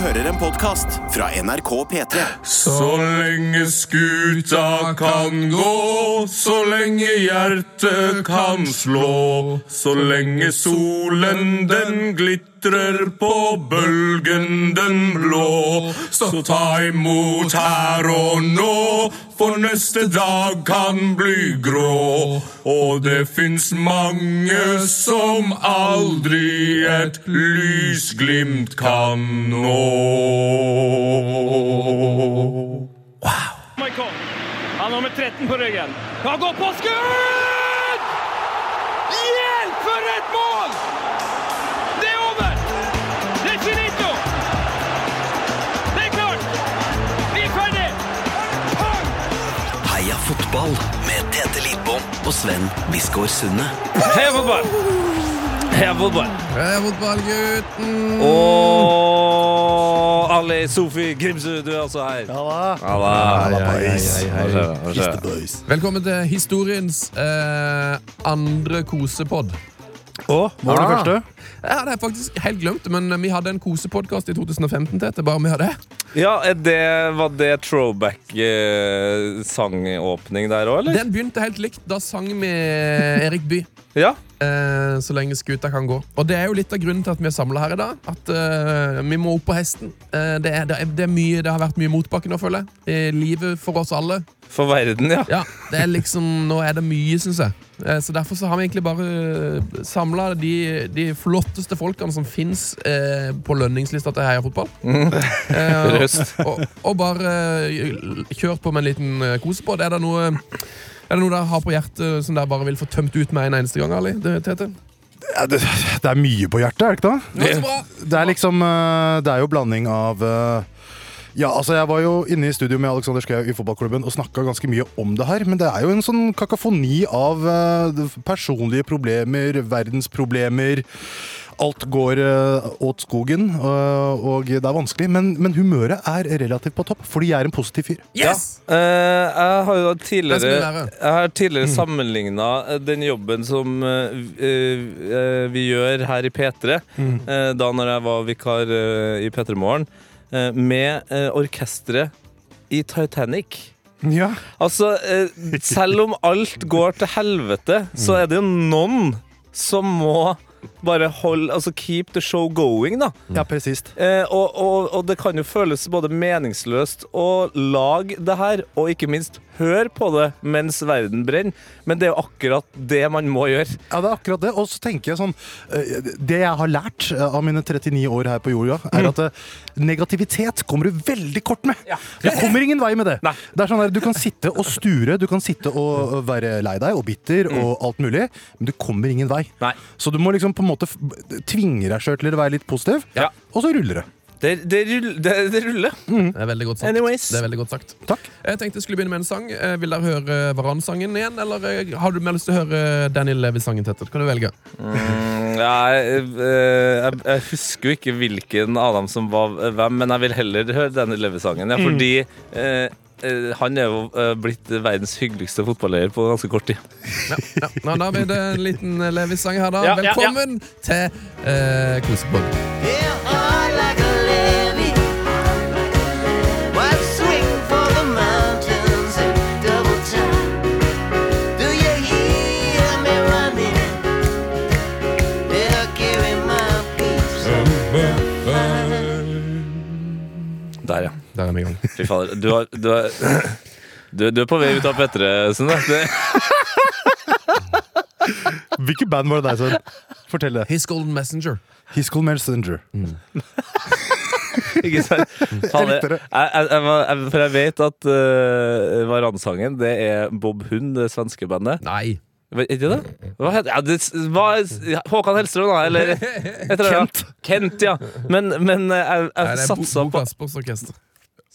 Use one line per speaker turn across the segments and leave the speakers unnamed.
hører en podkast fra NRK P3.
Så lenge skuta kan gå, så lenge hjertet kan slå, så lenge solen den glitrer på bølgen den blå, så ta imot her og nå, for neste dag kan bli grå, og det fins mange som aldri et lysglimt kan nå.
Michael. Han har med 13 på ryggen. Han går på skudd! Hjelp for et mål! Det er over! Det er finito! Det er klart! Vi er ferdig! Pang!
Heia fotball med Tete Lidbom og Sven Biskår Sunne.
Heia fotball! Heia fotball!
Hei, fotballgutten!
Og Ali Sofi Grimsrud, du er også her. Halla.
Velkommen til historiens eh, andre kosepod.
Hva var det første?
Jeg hadde faktisk helt glemt det, men vi hadde en kosepodkast i 2015. Tete, bare med det.
Ja, er det, var det throwback-sangåpning der òg, eller?
Den begynte helt likt. Da sang vi Erik Bye.
Ja.
Eh, så lenge skuta kan gå. Og det er jo litt av grunnen til at vi er samla her i dag. At eh, vi må opp på hesten. Eh, det, er, det, er, det, er mye, det har vært mye motbakke nå, føler jeg. Eh, livet for oss alle.
For verden, ja.
Ja, det er liksom, Nå er det mye, syns jeg. Eh, Så Derfor så har vi egentlig bare samla de, de flotteste folkene som fins eh, på lønningslista til Heia Fotball. Eh, og, og, og bare eh, kjørt på med en liten eh, kosepod. Er det noe er det noe dere har på hjertet eh, som dere bare vil få tømt ut med en eneste gang? Ali? Det, Tete?
Ja, det, det er mye på hjertet, er det ikke det?
Det er så bra!
Det er liksom eh, Det er jo blanding av eh, ja, altså Jeg var jo inne i studio med Alexander Schou i fotballklubben og snakka ganske mye om det her, men det er jo en sånn kakofoni av eh, personlige problemer, verdensproblemer. Alt går eh, åt skogen, eh, og det er vanskelig. Men, men humøret er relativt på topp, fordi jeg er en positiv fyr.
Yes!
Eh, jeg har jo da
Det skal
tidligere,
vi lære. Mm.
jeg har tidligere sammenligna den jobben som eh, vi- eh, vi gjør her i P3,
Mm.
eh, da når jeg var vikar eh, i P3 Morgen, eh, med eh, orkesteret i Titanic.
Ja.
Altså, eh, selv om alt går til helvete, så
Mm.
er det jo noen som må bare holde Altså keep the show going, da.
ja, presist.
Eh, og, og, og det kan jo føles både meningsløst å lage det her, og ikke minst høre på det mens verden brenner. Men det er jo akkurat det man må gjøre.
Ja, det er akkurat det. Og så tenker jeg sånn eh, Det jeg har lært eh, av mine 39 år her på jorda, er
Mm.
at eh, negativitet kommer du veldig kort med. Du kommer ingen vei med det.
Nei.
Det er sånn der, Du kan sitte og sture, du kan sitte og eh, være lei deg og bitter og alt mulig, men du kommer ingen vei.
Mm. Nei.
Så du må liksom på en måte f- tvinge deg sjøl til å være litt positiv,
Ja.
og så ruller det.
Det, det, rull- det, det ruller.
Det er veldig godt sagt.
Anyways.
Det er veldig godt sagt.
Takk.
Jeg tenkte jeg skulle begynne med en sang. Eh, Vil dere høre Varan-sangen igjen, eller eh, har du mer lyst til å høre Daniel Levi-sangen, Tete? Kan du velge?
Ja, jeg, eh, jeg, jeg husker jo ikke hvilken av dem som var hvem, men jeg vil heller høre denne Levi-sangen. Ja, fordi eh, eh, han er jo eh, blitt verdens hyggeligste fotballeier på ganske kort tid.
Ja, nå, da blir det en liten eh, Levis-sang her, da.
Ja, ja, ja.
Velkommen til eh, Kosebod.
Der, ja.
Der er vi i gang.
Fy fader. Du, har, du, er, du, du er på vei ut av P3, Sunne. Det-
Hvilket band var det deg, Søren? Fortell det.
His Golden Messenger.
His Cool Messenger.
Ikke sant? Fader,
likte
jeg,
det.
jeg, jeg, var- jeg, for jeg vet at uh, Varan-sangen Det er Bob Hund, det svenske bandet.
Nei.
Vet Ikke det? Hva heter ja, det? s- Hva, Håkan Hellstrøm, da? Eller heter det, Kent. Kent, ja. Men, men uh,
Nei,
jeg,
det
jeg
er Bo,
satsa
Bo
på
Kaspers orkester.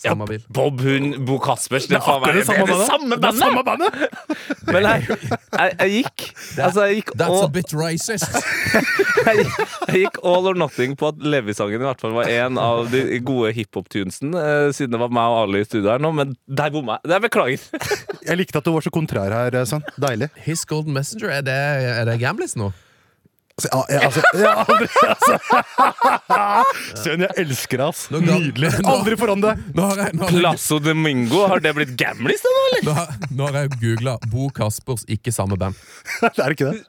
ja,
Samme bil.
Bob Hund, Bo Caspers. Det, er faen meg- det, er det samme
Det er
bandet!
samme bandet!
Men jeg, jeg, jeg gikk Altså, jeg gikk
That's a
all,
bit racist.
jeg, jeg gikk all or nothing på at Levi-sangen i hvert fall var en av de gode hiphop-tunesene, eh, siden det var meg og Ali i studio her nå, men der bomma jeg. Det er Beklager.
Jeg likte at du var så kontrær her, Søren. eh, Deilig.
His Golden Messenger, er det, er det Gamlis nå?
Altså, ja, jeg, altså, ja, aldri, altså. Søren, jeg elsker deg, ass.
ga-
Nydelig. Aldri forandre deg.
Nå har jeg, nå har jeg,
Plasso Domingo, har det blitt gamlis, det nå, eller?
nå har, nå har jeg googla Bo Kaspers ikke samme band.
Det er ikke det.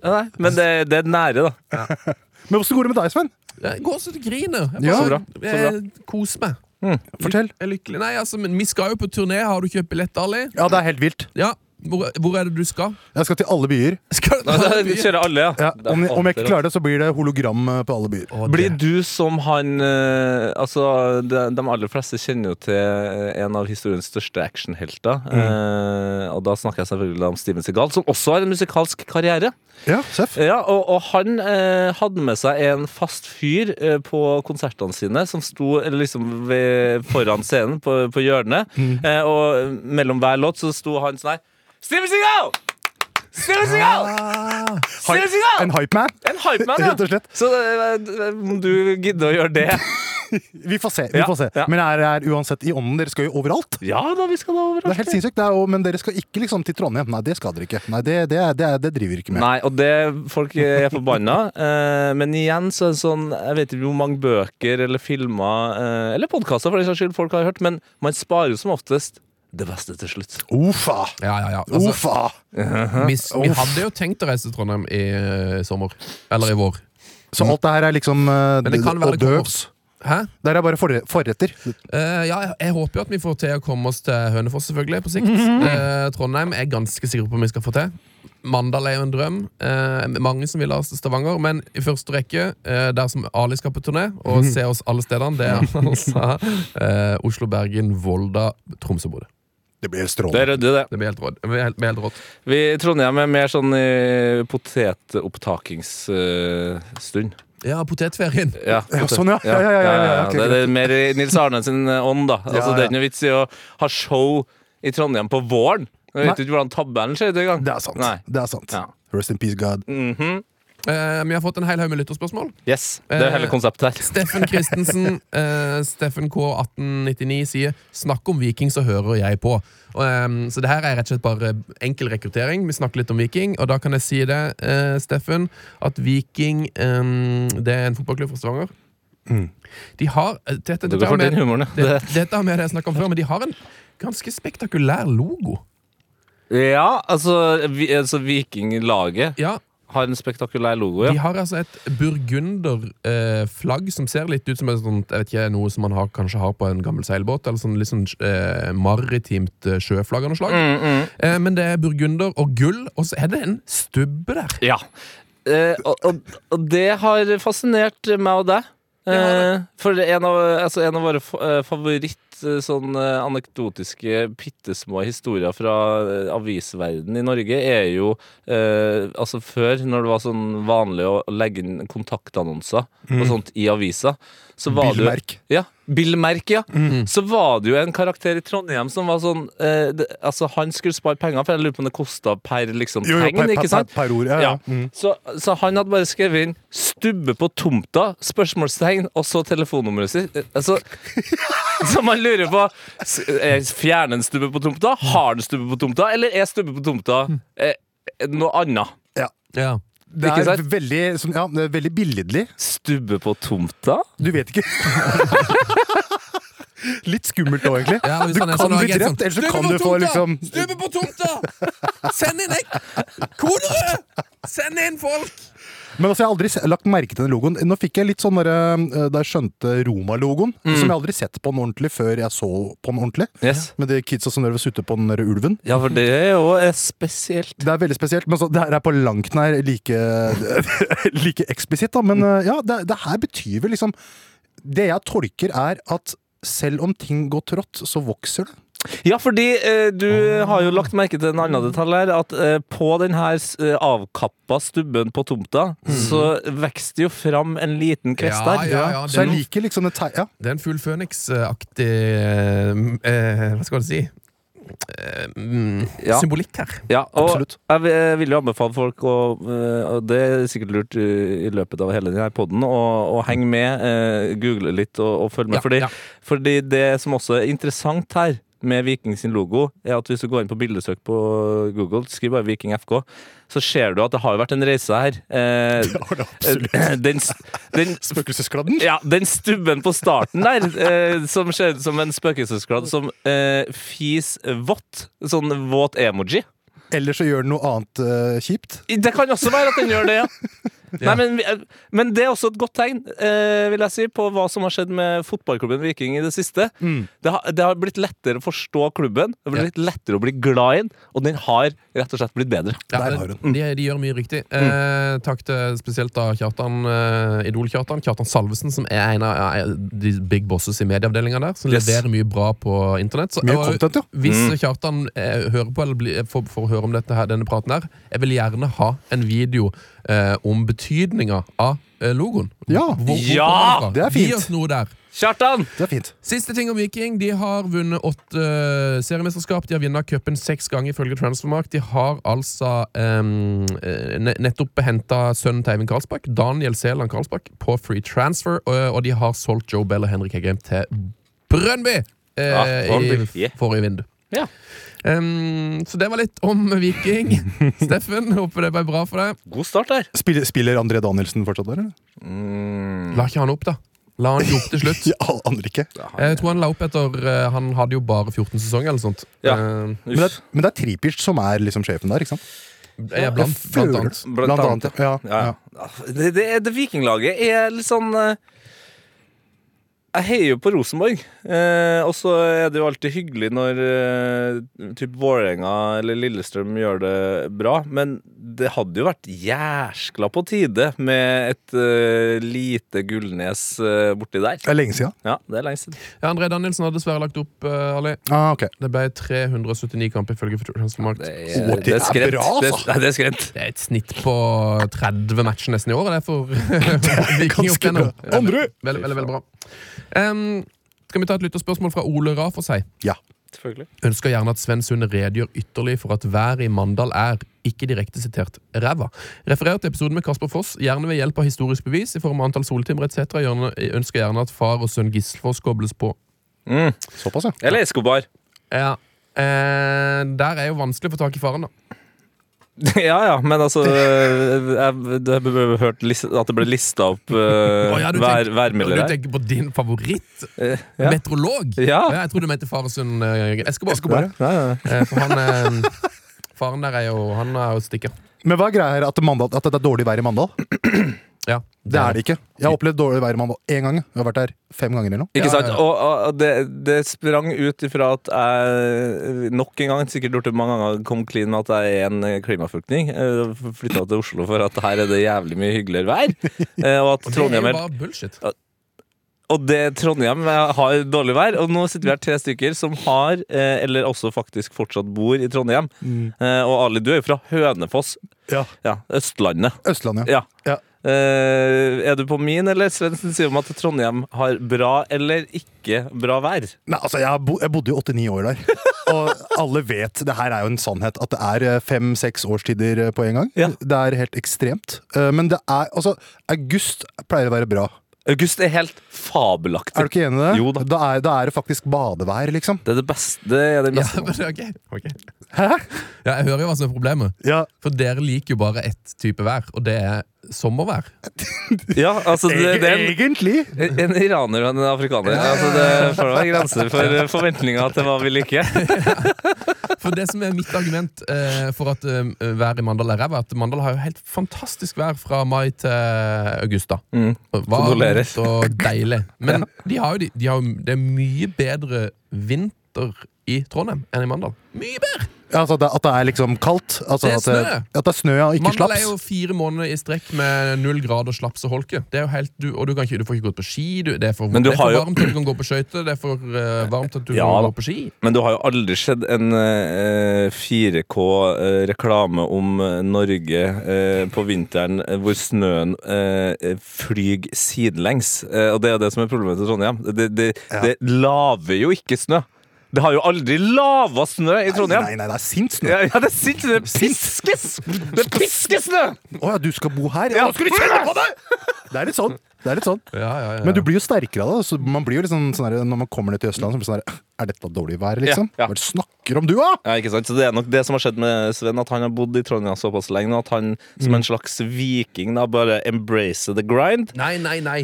Nei, men det, det er nære, da.
Men hvordan går det med deg, Sven?
Jeg går så til griner. Jeg,
Ja,
bare-
så bra, så
jeg koser meg.
Fortell.
Jeg er lykkelig. Nei, altså, men vi skal jo på turné. Har du kjøpt billett, Ali?
Ja, det er helt vilt.
Ja. Hvor, hvor er det du skal?
Jeg skal til alle byer.
Skal du
Da Kjører alle, ja.
Ja, om, jeg- om jeg ikke klarer det, så blir det hologram eh, på alle byer.
Å,
Blir
det-
du som han eh, Altså, de, de aller fleste kjenner jo til eh, en av historiens største actionhelter.
Mm.
Eh, og da snakker jeg selvfølgelig om Steven Segal, som også har en musikalsk karriere.
Ja, Seff.
Ja, Og, og han eh, hadde med seg en fast fyr eh, på konsertene sine, som sto eh, liksom ved, foran scenen på, på hjørnet. Eh, og mellom hver låt så sto han sånn her Steven Segal! Steven Segal! Steven Segal!
En hypeman?
En hypeman, ja.
Rett og slett.
Så eh, om du gidder å gjøre det
Vi får se. vi
Ja,
får se
ja.
Men jeg er, jeg er uansett i ånden. Dere skal jo overalt.
Ja da, vi skal da
Det
over.
er helt sinnssykt, det er jo, Men dere skal ikke liksom til Trondheim. Nei, det skal dere ikke. Nei, Det, det, er- det, er- det driver vi ikke med.
Nei, og det Folk er forbanna. eh, men igjen så er det sånn Jeg vet ikke hvor mange bøker eller filmer eh, eller podkaster for den saks skyld folk har hørt, men man sparer jo som oftest det beste til slutt.
Ufa!
Ja, ja, ja.
Oh,
Altså,
Ufa!
vi, vi hadde jo tenkt å reise til Trondheim i eh, sommer. Eller i vår.
Så alt det her er liksom uh,
Men det kan være
og
det kommer.
døvs.
Hæ?
Der er bare forre- forretter.
Eh, ja, jeg, jeg håper jo at vi får til å komme oss til Hønefoss selvfølgelig på sikt. Eh, Trondheim er jeg ganske sikker på om vi skal få til. Mandal er jo en drøm. Eh, mange som vil ha oss til Stavanger. Men i første rekke, eh, der som Ali skal på turné og se oss alle stedene, det er altså eh, Oslo, Bergen, Volda, Tromsø, Bodø.
Det blir
Det
strålende.
er ryddig, det.
Det blir helt råd- det blir helt- det blir helt rått.
Vi i Trondheim er mer sånn i potetopptakingsstund.
Ja, potetferien.
ja,
Ja, sånn, ja. Ja, ja, ja, ja, ja, ok,
det, det er mer i Nils Arne sin ånd, da. Altså,
Ja,
Det
ja.
er ikke noe vits i å ha show i Trondheim på våren. Du
Nei.
vet jo ikke hvordan tabellen ser ut engang.
Det er sant.
Nei.
Det er sant.
Ja. Mm.
Rest in peace, God.
Eh, vi har fått en hel haug med lytterspørsmål.
Yes, det er
Eh,
hele konseptet her.
Steffen Christensen, eh, Steffen K1899, sier 'Snakk om Viking, så hører jeg på'. Og, ehm, så det her er rett og slett bare enkel rekruttering. Vi snakker litt om Viking, og da kan jeg si det, eh, Steffen, at Viking ehm, Det er en fotballklubb fra Stavanger. De har eh, dette,
Du
dette,
Mm. går
har
for den
med,
humoren, ja.
det, dette har med det jeg snakket om før, men de har en ganske spektakulær logo.
Ja, altså, vi, altså Vikinglaget
Ja,
har en spektakulær logo,
De
ja.
har altså et burgunderflagg eh, flagg som ser litt ut som et sånt, jeg vet ikke, noe som man har, kanskje har på en gammel seilbåt. Eller sånn litt sånn eh, maritimt eh, sjøflagg av noe slag. Eh, men det er burgunder og gull, og så er det en stubbe der.
ja. Eh, og, og, og det har fascinert meg og deg. Eh, for det er en av, altså en av våre fa- eh, favoritt eh, sånn eh, anekdotiske bittesmå historier fra eh, avisverden i Norge er jo eh, Altså før, når det var sånn vanlig å legge inn kontaktannonser
Mm.
og sånt i avisa, så var det jo-
Bilmerk.
Ja, Billmerk, ja.
Mm.
Så var det jo en karakter i Trondheim som var sånn eh, det, Altså, han skulle spare penger, for jeg lurer på om det kosta per liksom,
Jo, jo,
tegn,
per- per-
ikke sant?
per- per ord, ja, Mm. ja.
Så, så han hadde bare skrevet inn 'stubbe på tomta', spørsmålstegn, og så telefonnummeret sitt. Eh, Altså, så man lurer på s- eh, Fjerner han stubbe på tomta? Har han stubbe på tomta? Eller er stubbe på tomta eh, noe annet?
Ja.
Det
Ikke
er
sant?
veldig, sånn- ja, det er veldig billedlig.
Stubbe på tomta?
Du vet ikke. Litt skummelt nå, egentlig.
Ja, hvis
du
han er
kan
sånn
bli
agent
drept,
sånn,
ellers
«Stubbe
så kan
på
du få
tomta!
liksom
Stubbe på tomta! Send inn ek- koderød! Send inn folk!
Men altså, jeg har aldri se- lagt merke til den logoen. Nå fikk jeg litt sånn derre, eh, da jeg skjønte Roma-logoen, som jeg aldri sett på den ordentlig før jeg så på den ordentlig.
Mm. Yes.
Med de kidsa som drev og sutta på den derre ulven.
Ja, for det er jo eh, spesielt.
Det er veldig spesielt, men så, det her er på langt nær like, like eksplisitt. da, Men eh, ja, det, det her betyr vel liksom Det jeg tolker, er at selv om ting går trått, så vokser det.
Ja, fordi eh, du har jo lagt merke til en annen detalj her. At eh, på denne eh, avkappa stubben på tomta, så vokste det jo fram en liten kvest
Ja,
der.
ja, ja.
Så
det er
jeg
noe-
liker liksom det tei... Ja.
Det er en full Phoenix-aktig eh, eh, Hva skal man si? Eh, mm,
Ja.
Symbolikk her.
Ja, og
Absolutt.
Jeg, vil- jeg vil jo anbefale folk å eh, og Det er sikkert lurt eh, i løpet av hele denne podden å, å henge med, eh, google litt og, og følge med.
Ja,
fordi,
ja.
fordi det som også er interessant her, med Viking sin logo, er at hvis du går inn på bildesøk på Google, skriv bare Viking FK, så ser du at det har jo vært en reise her. Eh,
har det absolutt.
eh, Den, s- den,
Spøkelseskladden?
ja, den stubben på starten der, eh, som ser ut som en spøkelseskladd som eh, fis vått. Sånn våt emoji.
Eller så gjør den noe annet eh, kjipt?
Det kan også være at den gjør det, ja. Nei, men, vi- men det er også et godt tegn eh, vil jeg si, på hva som har skjedd med fotballklubben Viking i det siste. Det, har, det har blitt lettere å forstå klubben, det har blitt lettere å bli glad i den, og den har rett og slett blitt bedre.
Ja,
Der
det-
har Mm. hun.
De, de gjør mye riktig. Eh, takk til spesielt da Kjartan eh, Idol-Kjartan Kjartan Salvesen, som er en av ja, de big bosses i medieavdelinga der. Som
Yes.
leverer mye bra på internett. Så,
Mye
og-
content, ja. Mm.
Hvis Kjartan eh, hører på eller blir- får, får høre om dette her, denne praten her, jeg vil gjerne ha en video eh, om betydninga av eh, logoen.
Ja.
hvor
Ja,
kommer den fra?
det er fint.
Gi oss noe der.
Kjartan!
Det er fint.
Siste ting om Viking. De har vunnet åtte eh, seriemesterskap. De har vunnet cupen seks ganger, ifølge Transfermark. De har altså ehm, eh, ne- nettopp henta sønnen til Eivind Karlsbakk, Daniel Sæland Karlsbakk, på free transfer. Og, og de har solgt Joe Bell og Henrik Hegheim til Brøndby eh,
Ja, Brøndby,
i
yeah.
forrige vindu.
Ja.
Ehm, så det var litt om Viking. Steffen, håper det ble bra for deg.
God start der.
Spiller, spiller André Danielsen fortsatt der, eller?
Mm.
La ikke han opp, da. La han ikke opp til slutt.
Ja, alle andre ikke.
Jeg tror han la opp etter eh, Han hadde jo bare 14 sesonger eller sånt.
Ja.
Ehm,
Men det, men det er Tripic som er liksom sjefen der, ikke sant?
Ja, blant,
Jeg
blant
føler-
annet.
Blant
Blant
annet,
annet, ja.
Ja.
ja.
Det, det, det vikinglaget er litt sånn eh, Jeg heier jo på Rosenborg. Eh, og så er det jo alltid hyggelig når eh, typ Vålerenga eller Lillestrøm gjør det bra. Men det hadde jo vært jæskla på tide med et eh, lite Gullnes eh, borti der.
Det er lenge siden.
Ja, det er lenge siden.
Ja, André Danielsen har dessverre lagt opp, eh, Ali.
Ah, ok.
Det ble 379 kamper ifølge Transfermarkt.
Det
Det
er,
Å, det er
skremt.
bra,
Det,
altså.
nei, det er skremt.
er et snitt på 30 matcher nesten i året, det, er for Viking opp
Ganske bra.
gjennom.
Andre!
Veldig, veldig, veldig bra. Em, skal vi ta et lytterspørsmål fra Ole Ra for seg?
Ja.
Selvfølgelig.
Ønsker gjerne at Sven Sunde redegjør ytterligere for at været i Mandal er, ikke direkte sitert, ræva. Referert til episoden med Kasper Foss, gjerne ved hjelp av historisk bevis i form av antall soltimer etc. Gjerne- Ønsker gjerne at far og sønn Gislefoss kobles på.
Såpass, ja.
Eller Escobar.
Ja. Eh, der er jo vanskelig å få tak i faren, da.
Ja, ja, men altså eh, Jeg du har hørt lis- at det ble lista opp eh,
Å, ja, du
vær,
tenker-
værmelder
Du
her.
tenker på din favoritt?
ja.
Meteorolog?
Ja.
Jeg trodde du mente Faresund eh, Escobar.
Escobar,
Ja, ja, ja.
Eh, For han eh, Faren der er jo Han er jo stikker.
Men hva er greia her? At, Mandal, at det er dårlig vær i Mandal?
Ja,
Det er det ikke. Jeg har opplevd dårlig vær i Mandal én gang. Jeg har vært der fem ganger eller noe.
Ikke
Ja,
sant?
ja.
Og, og og det, det sprang ut ifra at jeg nok en gang sikkert gjort det mange ganger, kom clean med at jeg er en eh, klimaflyktning. Flytta til Oslo for at her er det jævlig mye hyggeligere vær. eh, Og at
Og Det er
Trondheim
jo
er
bare bullshit.
Og det Trondheim har dårlig vær, og nå sitter vi her tre stykker som har, eh, eller også faktisk fortsatt bor i Trondheim.
Mm.
Eh, og Ali, du er jo fra Hønefoss.
Ja.
Østlandet.
Østlandet, ja.
Ja. Eh, er du på min eller Svendsen sier om at Trondheim har bra eller ikke bra vær?
Nei, altså, jeg, har bo, jeg bodde jo åtte-ni år der. Og alle vet, det her er jo en sannhet, at det er eh, fem-seks årstider eh, på en gang.
Ja.
Det er helt ekstremt. Eh, Men det er altså August pleier å være bra.
August er helt fabelaktig.
Er du ikke enig i det?
Jo da.
Da er, da er det faktisk badevær, liksom.
Det er det beste. Det er den
Ja,
beste.
men det er ok. Ok.
Hæ?
Ja, jeg hører jo hva som er problemet.
Ja,
For dere liker jo bare ett type vær, og det er sommervær.
Ja, altså, det, det er en,
egentlig.
en iraner og en afrikaner. Altså, det får være grenser for forventninger til hva vi liker.
For det som er mitt argument eh, for at eh, været i Mandal er ræva, er at Mandal har jo helt fantastisk vær fra mai til august. da
Mm. kondolerer.
Varmt og deilig. Men de har jo, de, de har, jo- det er mye bedre vinter i Trondheim enn i Mandal. Mye bedre!
Ja, altså at, det, at det er liksom kaldt. Altså
Det er
at det,
snø.
at det er snø, ja. Ikke
Mandal er
slaps.
jo fire måneder i strekk med null grad og slaps og holke. Det er jo helt, du, og du, kan ikke, du får ikke gått på ski. Du, det er for,
Men du
det er for
har jo-
varmt til at du kan gå på skøyter. Det er for eh, varmt til at du
Ja,
kan
da.
gå på ski.
Men du har jo aldri sett en eh, 4K-reklame om eh, Norge eh, på vinteren eh, hvor snøen eh, flyr sidelengs. Eh, og det er jo det som er problemet til Trondheim. Det, det, det laver jo ikke snø. Det har jo aldri lava snø i Trondheim.
Nei, nei, det er sint snø.
Ja, ja, det er sint. Det piskes! Det piskes snø!
Å ja, du skal bo her? Ja, nå skal du kjenne på det! Det er litt sånn. Det er litt sånn.
Ja, ja, ja.
Men du blir jo sterkere av det. Så man blir jo litt sånn, sånn her, når man kommer ned til Østlandet, så blir det sånn her, Er dette dårlig vær, liksom?
Ja, ja.
Hva er det du snakker om, du, da?
Ja, ikke sant? Så Det er nok det som har skjedd med Sven, at han har bodd i Trondheim såpass lenge nå at han som en slags viking da bare embracer the grind.
Nei, nei, nei.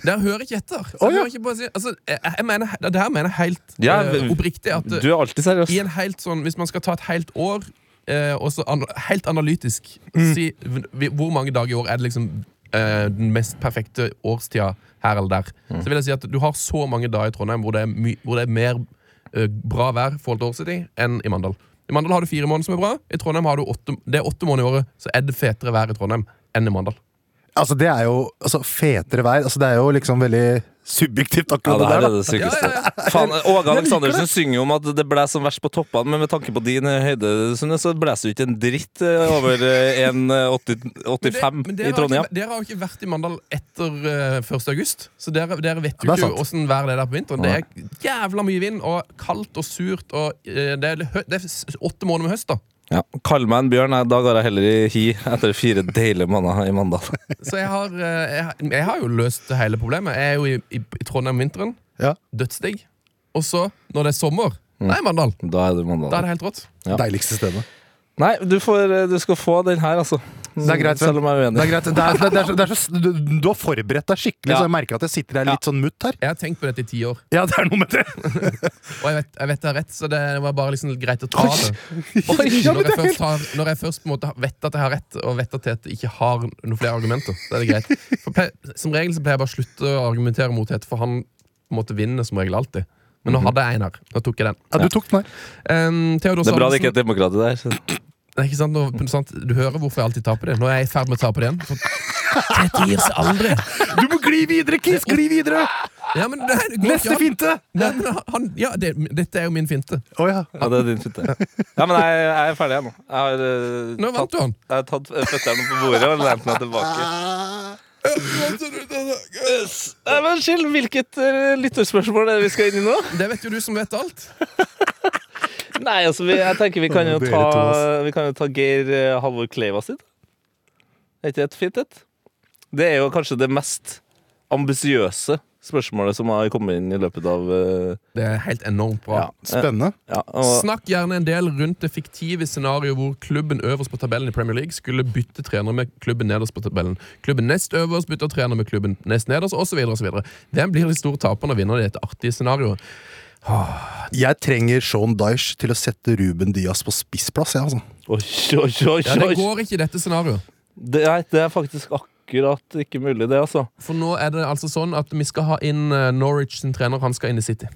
Dere hører ikke etter. Jeg,
ja.
hører ikke på å si, altså, jeg, jeg mener, det her mener jeg helt
Ja,
eh,
men-
oppriktig. At, eh,
Du er alltid seriøs.
i en helt sånn, Hvis man skal ta et helt år eh, og så an helt analytisk
Mm.
si v- vi- hvor mange dager i år er det liksom eh, den mest perfekte årstida her eller der,
Mm.
så vil jeg si at du har så mange dager i Trondheim hvor det er, my hvor det er mer eh, bra vær forhold til årstid enn i Mandal. I Mandal har du fire måneder som er bra. I Trondheim har du åtte, det er åtte måneder i året, så er det fetere vær i Trondheim enn i Mandal.
Altså, det er jo altså, fetere vær. Altså, det er jo liksom veldig subjektivt,
Ja,
akkurat
det
det,
her er
der.
det
Da.
sykeste.
Ja, ja,
Faen, Åge Aleksandersen synger jo om at det blæs som verst på toppene, men med tanke på din eh, høyde, Sunne, så blæser det jo ikke en dritt eh, over eh, 1,85
Men det- men
i
dere har
Trondheim.
ikke- Dere har jo ikke vært i Mandal etter eh, 1. august, så dere, dere vet jo
Det er
ikke
sant.
åssen været er der på vinteren. Det er jævla mye vind, og kaldt og surt, og eh, det, er, hø- det er s- åtte måneder med høst, da.
Ja. Kall meg en bjørn, nei, da går jeg heller i hi etter fire deilige måneder i Mandal.
Så jeg har, eh, jeg, har- jeg har jo løst hele problemet. Jeg er jo i, i, i Trondheim om vinteren,
Ja. Mm.
dødsdigg, og så, når det er sommer, nei, Mandal.
Da er det
Da er
Mandal.
det helt rått.
Ja.
Deiligste stedet.
Nei, du, får, eh, du skal få den her, altså.
Det er greit, Sven.
Selv om jeg er
Det
uenig.
er greit. Det er, det er, det er, så, det er så, du, du har forberedt deg skikkelig,
Ja.
så jeg merker at jeg sitter der litt sånn mutt her.
Jeg har tenkt på dette i ti år,
Ja, det er noe med det.
og jeg vet jeg vet det er rett, så det var bare liksom greit å ta det.
Ja, men
Når
det
jeg
er helt...
først, har, når jeg først på en måte vet at jeg har rett, og vet at Tete ikke har noen flere argumenter, så er det greit. For ple- som regel så pleier jeg bare å slutte å argumentere mot Tete, for han på en måte vinner som regel alltid. Men nå hadde jeg en her. Nå tok jeg den.
Mhm. Ja, du tok den her.
Um, Theodor
Det er bra det
Salvesen-
ikke er et demokrati der. så-
Nei, ikke sant? Nå, sant? Du hører hvorfor jeg alltid taper det. Nå er jeg i ferd med å tape det igjen. For Tete gir seg aldri.
Du må gli videre, Kiss! Gli videre!
Ja, men det, det går ikke
Neste
an.
finte!
Nei, men han, ja, det, dette er jo min finte.
Å ja.
Ja, det er din fitte. Ja, men jeg, jeg er ferdig, jeg nå. Jeg har, eh,
Nå vant
tatt,
du han.
jeg har tatt eh, føttene på bordet og lent meg tilbake. Nei, men Skill, hvilket eh, lytterspørsmål er det vi skal inn i nå?
Det vet jo du som vet alt.
Nei, altså, vi, jeg tenker vi kan jo
Å, dere
ta,
to, ass.
vi kan jo ta Geir eh, Halvor Kleiva sitt. Er ikke det et fint et? Det er jo kanskje det mest ambisiøse spørsmålet som har kommet inn i løpet av eh,
Det er helt enormt bra.
Ja.
Spennende.
ja, og,
Snakk gjerne en del rundt det fiktive scenarioet hvor klubben øverst på tabellen i Premier League skulle bytte trener med klubben nederst på tabellen. Klubben nest øverst bytter trener med klubben nest nederst, osv. osv. Hvem blir de store taperne og vinnerne i dette artige scenarioet?
Jeg trenger Sean Dyche til å sette Ruben Diaz på spissplass, jeg, altså.
Oi, oi, oi,
Ja, det
oi.
går ikke i dette scenarioet.
Det, er, det er faktisk akkurat ikke mulig, det, altså.
For nå er det altså sånn at vi skal ha inn eh, Norwich sin trener, han skal inn i City.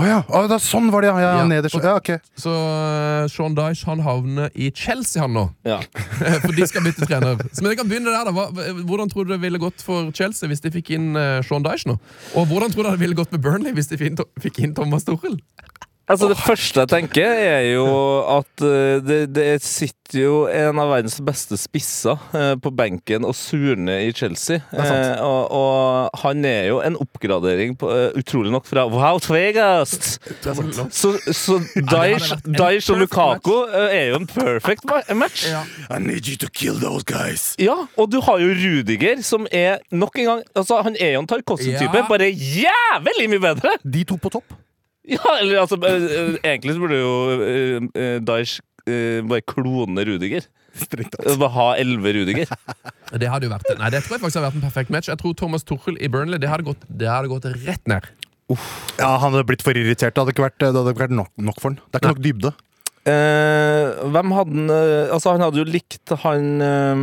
Å ja. Å, da, sånn var det, ja. ja,
Ja.
Nederst. Ja, ok.
Så eh, Sean Dyche han havner i Chelsea, han nå.
Ja.
For de skal bytte trener. Så men vi kan begynne der da Hva, Hvordan tror du det ville gått for Chelsea hvis de fikk inn eh, Sean Dyche nå? Og hvordan tror du det ville gått med Burnley hvis de fikk inn, fikk inn Thomas Tuchel?
Altså Det første jeg tenker, er jo at eh, det, det sitter jo en av verdens beste spisser eh, på benken og surner i Chelsea. Eh, og, og han er jo en oppgradering, på, eh, utrolig nok, fra Wow Vegas! Så, så
hadde
Daesh,
vært en
Daesh
perfect
og Lukako eh, er jo en perfect ma- match.
Ja.
I need you to kill those guys.
Ja, og du har jo Rudiger, som er nok en gang Altså, Han er jo en Tarkovsky-type,
Ja.
bare jævlig mye bedre!
De to på topp.
Ja, eller altså eh, eh, Egentlig så burde jo eh, eh, Daesh eh, bare klone Rudiger.
Strengt tatt.
Eh, Bare ha elleve Rudiger.
Det hadde jo vært Nei, det tror jeg faktisk hadde vært en perfekt match. Jeg tror Thomas Tuchel i Burnley Det hadde gått, det hadde gått rett ned.
Ja, Han hadde blitt for irritert. Det hadde ikke vært, det hadde ikke vært nok, nok for han. Det er ikke nok dybde.
Eh, hvem hadde han eh, Altså, han hadde jo likt han eh,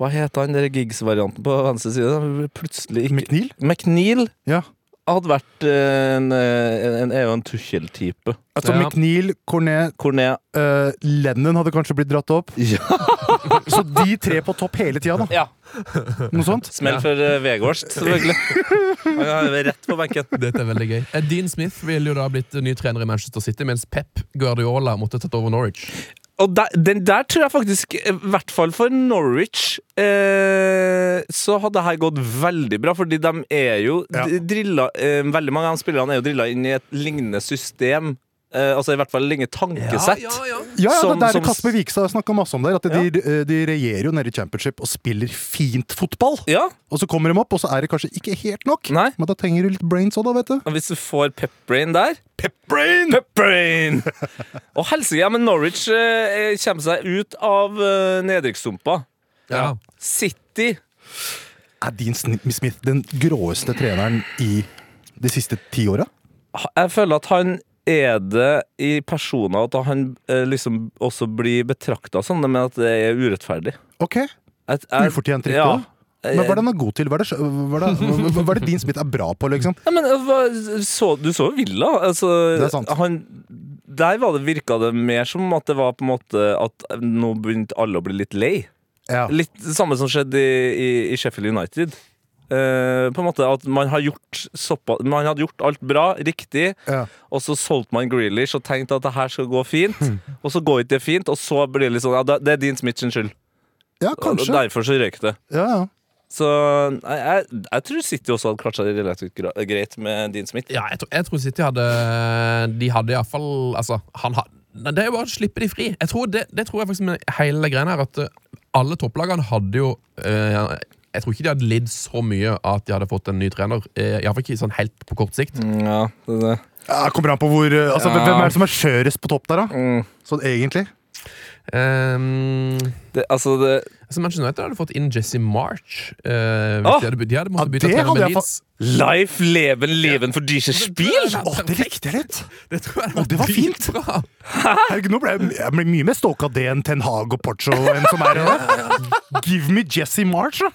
Hva het han der gigs-varianten på venstre side? Han ble Plutselig ikke
McNeil?
McNeil
Ja.
hadde vært eh, en, eh, en, en, er jo en Tuchel-type.
Altså,
Ja.
McNeil, Cornet,
Cornet
eh, Lennon hadde kanskje blitt dratt opp.
Ja.
Så de tre på topp hele tida, da.
ja.
Noe sånt?
Smell for uh, Vegårst, selvfølgelig. Han er jo rett på benken.
Dette er veldig gøy. Eh, Dean Smith ville jo da blitt ny trener i Manchester City, mens Pep Guardiola måtte tatt over Norwich.
Og der, den der tror jeg faktisk, i hvert fall for Norwich, eh, så hadde det her gått veldig bra. Fordi de er jo
Ja.
d- drilla eh, Veldig mange av de spillerne er jo drilla inn i et lignende system. Eh, altså i hvert fall lignende
Ja,
tankesett.
ja, ja.
Ja, ja,
Som-
det er
som-
det Kasper Vikstad snakka masse om der. At de, de, de regjerer jo nede i championship og spiller fint fotball.
Ja,
Og så kommer de opp, og så er det kanskje ikke helt nok.
Nei.
Men da trenger du litt brains òg, da, vet du.
og Hvis du får pepbrain der
Brain!
Pepbrain! Og helsike, ja, men Norwich eh, kommer seg ut av eh, nedrykkssumpa.
ja.
City
Er Dean Sn- Smith den gråeste treneren i de siste ti åra?
ha- Jeg føler at han er det i personer at han eh, liksom også blir betrakta sånn, men at det er urettferdig.
Ok,
Jeg- jeg-
Ufortjent riktig
Ja.
også? Men hva er det han er god til? Hva er det, sj- hva er det, hva- hva er det Dean Smith er bra på, liksom?
Ja, men eh, hva- så, Du så jo Villa. Altså,
Det er sant.
Han, der var det, virka det mer som at det var på en måte at nå begynte alle å bli litt lei.
Ja.
Litt det samme som skjedde i, i, i Sheffield United. Eh, på en måte at man har gjort såpa, Man hadde gjort alt bra, riktig,
Ja.
og så solgte man Grealish og tenkte at det her skal gå fint, og så går ikke det fint, og så blir det litt sånn Ja, det det er din Smith sin skyld.
ja,
Og
kanskje.
derfor så røyk det.
Ja, ja.
Så jeg, jeg, jeg tror City også hadde klart seg relativt gra- greit med Dean Smith.
Ja, jeg, tror, jeg tror City hadde De hadde iallfall Altså, han hadde Nei, Det er jo bare å slippe de fri. Jeg tror det, det tror jeg faktisk med hele greia her, at eh, alle topplagene hadde jo eh, Jeg tror ikke de hadde lidd så mye av at de hadde fått en ny trener. Uh, Iallfall ikke sånn helt på kort sikt.
Mm.
Ja, det, det.
ja Kommer an på hvor eh, altså,
Ja.
Hvem er det som er skjørest på topp der, da? Sånn egentlig.
Um,
Det, altså det,
altså Manchester United hadde fått inn Jesse March. eh, hvis
Åh!
de, hadde, de hadde
Ja,
måttet
det
bytte trener
hadde
med
jeg
Leeds.
Life, leven, leven for diese Spiel!
Å, det likte jeg litt!
Det tror jeg
Å, det var fint.
dritbra.
Herregud, nå ble jeg, jeg ble mye mer stalka det enn Ten Hag og Pocho. Enn som er, her. Give me Jesse March, da!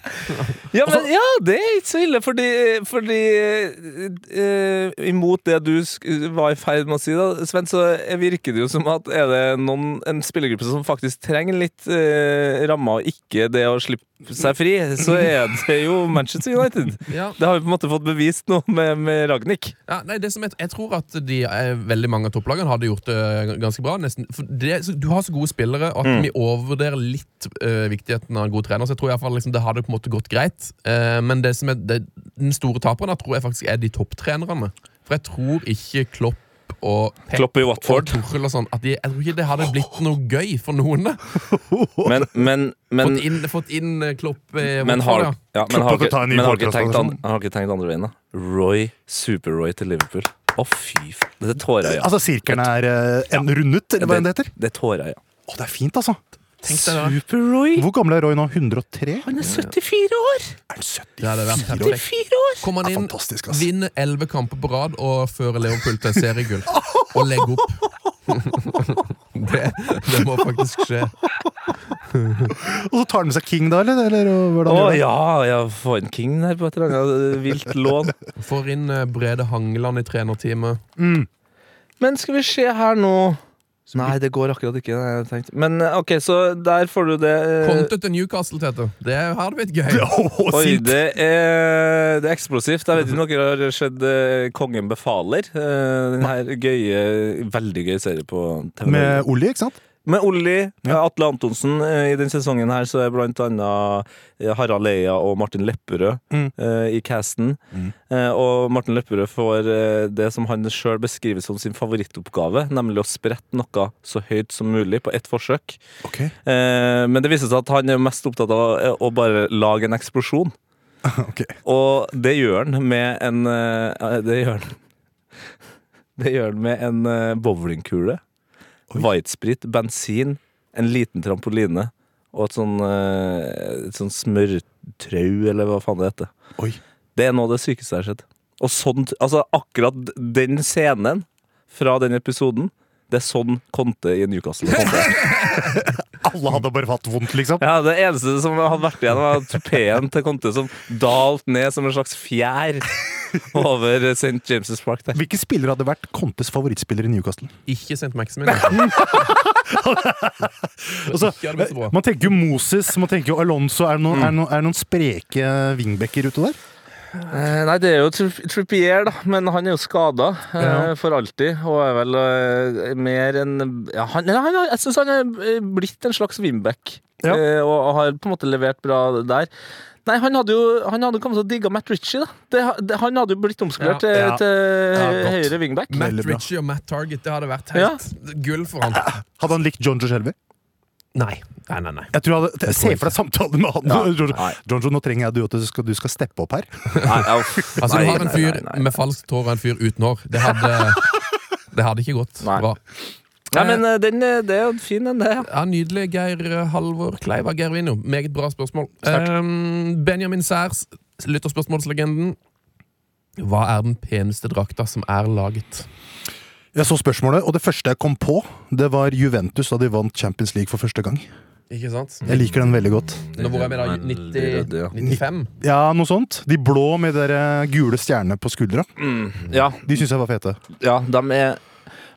Ja, men, ja, det er ikke så ille, fordi, fordi eh, Imot det du sk- var i ferd med å si, da, Sven, så virker det jo som at er det noen, en spillergruppe som faktisk trenger litt uh, rammer, og ikke det å slippe seg fri, så er det jo Manchester United.
Ja.
Det har vi på en måte fått bevist nå med, med Ragnhild.
Ja, nei, det som jeg, jeg tror at de, eh, veldig mange av topplagene hadde gjort det g- ganske bra. Nesten. For det, så, du har så gode spillere og at
Mm.
vi overvurderer litt eh, viktigheten av en god trener. Så jeg tror i hvert fall liksom, det hadde på en måte gått greit. Eh, men det som er, det, den store taperen her tror jeg faktisk er de topptrenerne. For jeg tror ikke Klopp og Pep
Klopp i Watford.
og Tuchel og sånn at de, Jeg tror ikke det hadde blitt noe gøy for noen.
Men, men, men,
Fått inn, fått inn eh, Klopp eh,
men
Watford,
har,
ja.
ja, men har,
Klopp måtte
ikke,
ta en ny
men har, ikke tenkt an,
folkeavstemning.
har ikke tenkt andre veien, da. Roy, Super-Roy til Liverpool. Å, fy faen. Det er tårer i øynene.
Altså, sirkelen er eh, en rundet, eller hva enn det heter.
Det er tårer i øynene.
Å, det er fint, altså!
Tenk deg det.
Super-Roy?
Hvor gammel er Roy nå? 103?
Han er 74 år!
Er han 70?
Det hadde vært perfekt.
74 år!
Kommer han
Ja,
inn,
fantastisk, ass.
vinner elleve kamper på rad og fører Leopold til seriegull. Og legger opp. det, det må faktisk skje.
Og så tar han med seg King da, eller? eller og hvordan
Å
gjør han?
ja, jeg får en king der på et eller annet eh, vilt lån.
Får inn eh, Brede Hangeland i trenerteamet.
Men skal vi se her nå Nei, det går akkurat ikke. Nei, jeg tenkte. Men eh, OK, så der får du det. eh,
Conte til Newcastle, Tete. Det hadde blitt gøy.
Å,
Oi,
sint.
det er, det er eksplosivt. Jeg vet ikke om dere har sett eh, Kongen befaler. eh, Den her gøye, veldig gøye serien på TV.
Med Olli, ikke sant?
Med Olli, Atle Antonsen eh, i den sesongen her, så er blant annet eh, Harald Eia og Martin Lepperød eh, i casten. Eh, og Martin Lepperød får eh, det som han sjøl beskriver som sin favorittoppgave, nemlig å sprette noe så høyt som mulig på ett forsøk.
Ok.
Eh, men det viser seg at han er mest opptatt av å, å bare lage en eksplosjon.
Ok.
Og det gjør han med en eh, Det gjør han Det gjør han med en eh, bowlingkule. Whitesprit, bensin, en liten trampoline og et sånn, eh, et sånn smørtrau, eller hva faen det heter.
Oi.
Det er noe av det sykeste jeg har sett. Og sånn, altså akkurat den scenen fra den episoden, det er sånn Conte i Newcastle. Conte.
Alle hadde bare hatt vondt, liksom.
Ja, Det eneste som hadde vært igjen, var tupeen til Conte som dalt ned som en slags fjær over St. James' Park. der
Hvilke spillere hadde vært Contes favorittspiller i Newcastle?
Ikke St. Maximin. altså.
Altså,
Ikke hadde blitt så bra.
man tenker jo Moses, man tenker jo Alonso. Er det noen, er det noen, er det noen spreke wingbacker ute der?
Eh, Nei, det er jo Tri- Trippier, da, men han er jo skada
Ja.
for alltid. Og er vel eh, mer enn ja, han, ja, han, Jeg syns han er eh, blitt en slags wimback,
Ja.
eh, og, og har på en måte levert bra der. Nei, han hadde jo han hadde kommet til å digge Matt Ritchie, da. Det, det, han hadde jo blitt omskolert til,
Ja.
til
Ja,
høy-
godt.
eh, høyre wingback.
Matt
Veldig bra.
Ritchie og Matt Target, det hadde vært helt gull for han.
Hadde han likt John Joe Shelby?
Nei. Nei, nei, nei.
Jeg tror jeg hadde, Se for deg samtalen med han.
Ja,
John,
nei.
John Joe, nå trenger jeg du at du skal, du skal steppe opp her.
Nei, ja, uff,
Altså,
nei,
du har en
nei,
fyr
nei, nei.
med falskt hår og en fyr uten hår. Det hadde, det hadde ikke gått
Nei.
bra.
Nei, men eh, den, eh, det er jo fin, den, det. ja.
Ja, Nydelig, Geir eh, Halvor Kleiva. Geir Vino, meget bra spørsmål. Um, Benjamin Særs, lytterspørsmålslegenden. Hva er den peneste drakta som er laget?
Jeg så spørsmålet, og det første jeg kom på, det var Juventus da de vant Champions League for første gang.
Ikke sant?
Jeg liker den veldig godt.
Nå hvor er vi da? 90, 95?
Ja, noe sånt. De blå med de der eh, gule stjernene på skuldra.
Mm, Ja,
De syns jeg var fete.
Ja, de er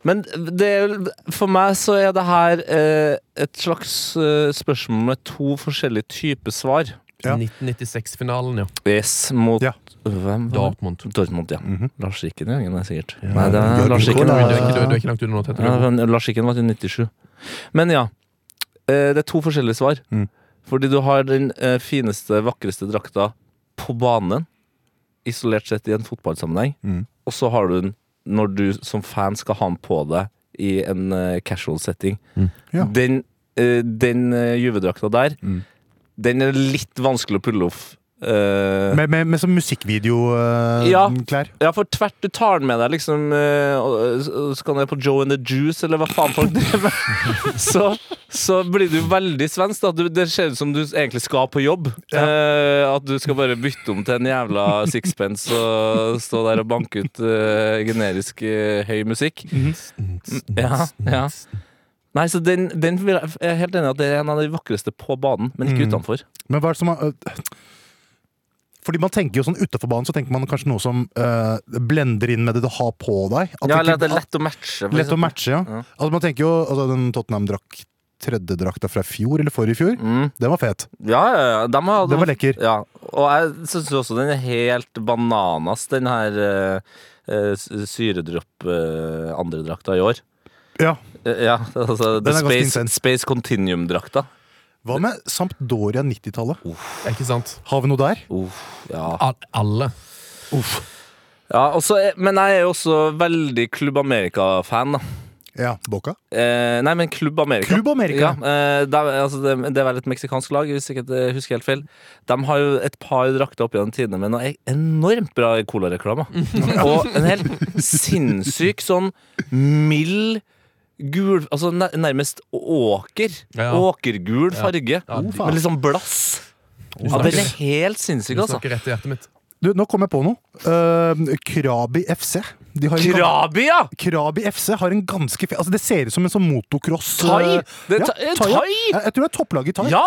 Men det er, for meg så er det her eh, et slags eh, spørsmål med to forskjellige typer svar.
Ja.
1996-finalen, ja.
Yes, mot
Ja.
hvem? var det?
Dortmund.
Dortmund, ja. Lars Rikken Jørgen, det er sikkert. Nei, det er Lars
Du
Rikken.
er
Nicolai.
ikke, du, er- du er ikke langt unna nå, Tete.
Ja,
Du.
men Lars Rikken var til 97. Men ja. eh, Det er to forskjellige svar.
Mhm.
Fordi du har den eh, fineste, vakreste drakta på banen, isolert sett i en fotballsammenheng,
Mhm.
og så har du den når du som fan skal ha den på deg i en eh, casual setting.
Ja.
Den, eh, den eh, juvedrakta der,
Mhm.
den er litt vanskelig å pulle off. eh,
Med, med, med sånn eh,
Ja.
musikkvideoklær.
ja, for tvert du tar den med deg, liksom eh, og- og Skal ned på Joe and the Juice, eller hva faen folk driver med. Så, så blir du veldig svensk. da du, Det ser ut som du egentlig skal på jobb. Eh, at du skal bare bytte om til en jævla sixpence og stå der og banke ut eh, generisk eh, høy musikk.
Mhm.
Mm, Ja, ja. Nei, så den, den vil jeg jeg er helt enig i at det er en av de vakreste på banen, men ikke utenfor.
Men hva er det som er øh, Fordi man tenker jo sånn utafor banen, så tenker man kanskje noe som øh, blender inn med det du har på deg.
Ja,
At det
eller
ikke-
at det er lett å matche. for
Lett å
eksempel.
matche, ja.
Ja.
Altså, man tenker jo altså, Den Tottenham drakk tredje drakta fra i fjor, eller forrige fjor.
Mm.
Den var fet.
Ja, ja, ja. De har,
Den var lekker.
Ja, og jeg syns også den er helt bananas, den her uh, syredropp-andredrakta eh, i år.
Ja.
Eh, ja, altså The
er ganske
Space,
intens.
Space Continuum-drakta.
Hva med Sampdoria 90-tallet?
Oh.
Ikke sant?
Har vi noe der?
Uff, ja.
Al- Alle.
ja og så er- men jeg er jo også veldig Klubb America-fan, da.
Ja, Boca.
Eh, nei, men Klubb Amerika.
Klubb Amerika.
Ja, eh, det, er- altså, det, det er vel et meksikansk lag, hvis ikke jeg husker helt feil. De har jo et par drakter opp gjennom tidene med noe enormt bra colareklame. Og en helt sinnssyk sånn mild gul Altså nær- nærmest åker.
Ja.
Åkergul farge.
Ja,
Med
de-
litt sånn blass. Ja, den er helt sinnssyk,
Du
altså.
snakker rett i hjertet mitt.
Du, nå kom jeg på noe. Eh, Krabi FC. De har en gans-
Krabi, ja!
Krabi FC har en ganske fe... Altså, det ser ut som en sånn motocross
Thai?
eh,
Det er
ja,
ta- eh,
ja.
thai?
Ja, Jeg tror det er topplaget i thai.
Ja!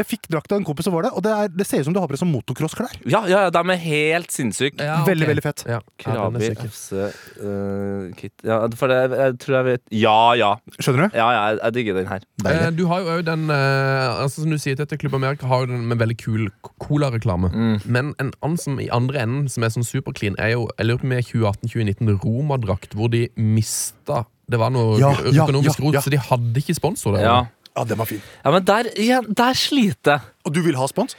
Jeg fikk drakta av en kompis som var det, og det, er, det ser ut som du har på deg sånn motocrossklær.
Ja, ja, ja, de er helt sinnssyke.
Ja, ok.
Veldig, veldig fett.
Ja, ja, den er
Krabi,
sikker.
FC, eh, Kit Ja, for jeg, jeg tror jeg vet Ja, ja.
Skjønner du?
Ja, ja, jeg, jeg digger den her.
Eh,
Deilig.
Du har jo òg den eh, altså Som du sier, dette Klubb Amerika har jo den med veldig kul k- cola-reklame.
Mm.
Men en annen som i andre enden, som er sånn superclean, er jo jeg lurer på om det er 2018-2019 Roma-drakt, hvor de mista Det var noe
Ja,
ø-
ja,
økonomisk
ja,
rot,
ja.
så de hadde ikke sponsor. Der.
Ja,
Ja, den var fin.
ja men der, ja, der sliter jeg.
Og du vil ha spons?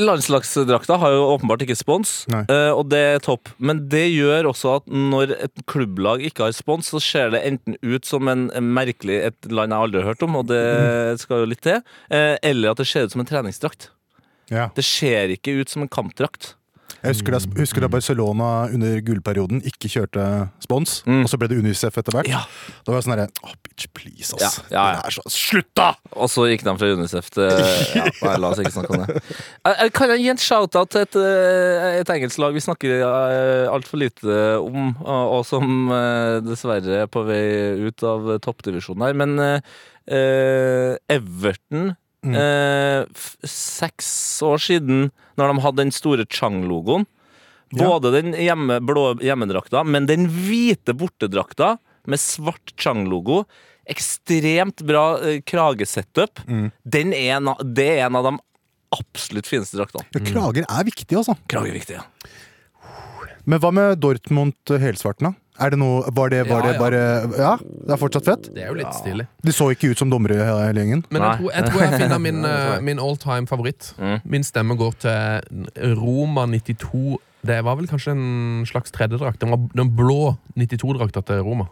Landslagsdrakta har jo åpenbart ikke spons,
Nei.
eh, og det er topp. Men det gjør også at når et klubblag ikke har spons, så ser det enten ut som en, en merkelig et land jeg aldri har hørt om, og
Mm.
det skal jo litt til, eh, eller at det ser ut som en treningsdrakt.
Ja.
Det ser ikke ut som en kampdrakt.
Jeg husker da,
Mm,
husker da Barcelona under gullperioden ikke kjørte spons,
Mm.
og så ble det Unicef etter hvert.
Ja.
Da var jeg sånn herre Åh, bitch, please, ass.
Ja, ja, ja.
Det er så, slutt, da!
Og så gikk de fra Unicef til ja, Nei, la oss ikke snakke om det. Eh, eh, Kan jeg gi en shout-out til et, eh, et engelsk lag vi snakker altfor lite om, og og som eh, dessverre er på vei ut av toppdivisjonen her, men eh, eh, Everton eh, f- Seks år siden, når de hadde den store Chang-logoen Både den hjemme, blå hjemmedrakta, men den hvite bortedrakta med svart Chang-logo. Ekstremt bra eh, kragesetup.
Mm.
Den er en av, det er en av de absolutt fineste draktene.
Ja, krager er viktig, altså.
Krageviktig, ja.
Men hva med Dortmund eh, helsvarten, da? Er det noe, var det, var
Ja,
det
ja.
bare Ja, det er fortsatt fett?
Det er jo litt stilig.
De så ikke ut som dommere, hele gjengen.
Men jeg
Nei.
tror, jeg tror jeg Mm. finner min, eh, min all time favoritt. Min stemme går til Roma 92. Det var vel kanskje en slags tredjedrakt. Den, var- den blå 92-drakta til Roma.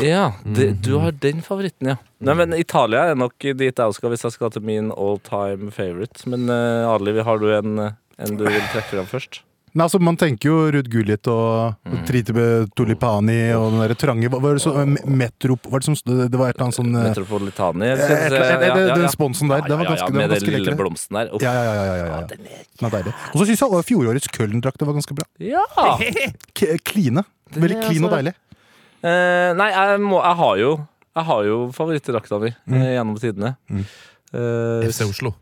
Ja,
Mm.
det, du har den favoritten, ja. Nei, men Italia er nok dit jeg også skal, hvis jeg skal til min all time favorite. Men eh, Adli, har du en, eh, en du vil trekke fram først?
Nei, altså Man tenker jo Ruud Gullit og mm. Tulipani og den der trange Hva var det så, eh, Metrop Var det som stod- Det var et eller annet sånn eh,
Metropolitani?
eh, et eller annet- eh, Den sponsen der, den var ganske, den
Med
var
den
ganske
lille
lekker.
blomsten der. Uff.
Ja, ja, ja. ja, ja, ja. Den er deilig. Og så syns jeg også fjorårets Köln-drakter var ganske bra.
Ja.
K Kline. Veldig
er
clean og
altså-
deilig.
Eh, nei, jeg, må, jeg har jo Jeg har jo favorittdrakta mi
Mm.
eh, gjennom tidene. Eh,
FC Oslo.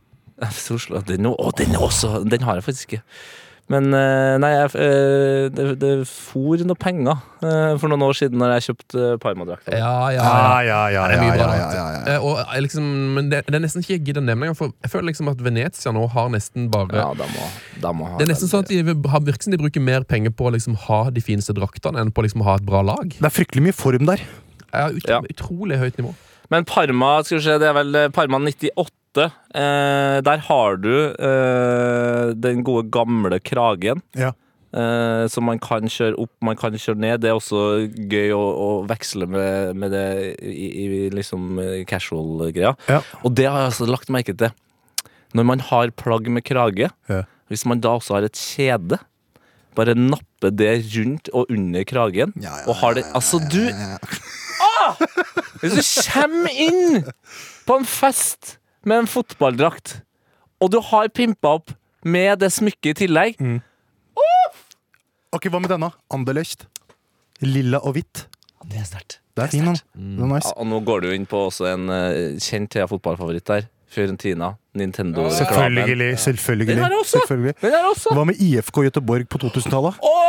FC Oslo. Den, å, den også! Den har jeg faktisk ikke. Men eh, nei, jeg, eh, det, det for noe penger eh, for noen år siden når jeg kjøpte eh, Parma-drakta.
Ja, ja, ja.
ja, ja,
Det er mye bra. drakter.
ja, ja.
Eh, Og eh, liksom, men det, det er nesten ikke jeg gidder å nevne engang, for jeg føler liksom at Venezia nå har nesten bare
Ja, de må, de må ha
Det er nesten
den.
sånn at de har virker som de bruker mer penger på å liksom ha de fineste draktene enn på liksom å ha et bra lag.
Det er fryktelig mye form der.
Ja, ut,
Ja.
Utrolig høyt nivå.
Men Parma, skal vi se, det er vel eh, Parma 98. Eh, der har du eh, den gode, gamle kragen.
Ja.
Eh, som man kan kjøre opp, man kan kjøre ned. Det er også gøy å, å veksle med, med det i, i liksom eh, casual-greia.
Ja.
Og det har jeg altså lagt merke til. Når man har plagg med krage,
Ja.
hvis man da også har et kjede bare nappe det rundt og under kragen,
Ja, ja,
og har det Altså, du Ah! Hvis du kommer inn på en fest med en fotballdrakt, og du har pimpa opp med det smykket i tillegg
Mm. Ok, Hva med denne? Anderlecht. Lilla og hvitt.
Det er sterkt.
Det er fin, den. Den er
Mm.
nice.
Ja, og nå går du inn på også en eh, kjent ja, fotballfavoritt der. Fiorentina. Nintendo-reklamen.
Selvfølgelig. selvfølgelig,
Den har jeg også.
selvfølgelig.
Den er også!
Hva med IFK Göteborg på 2000-tallet?
Åh!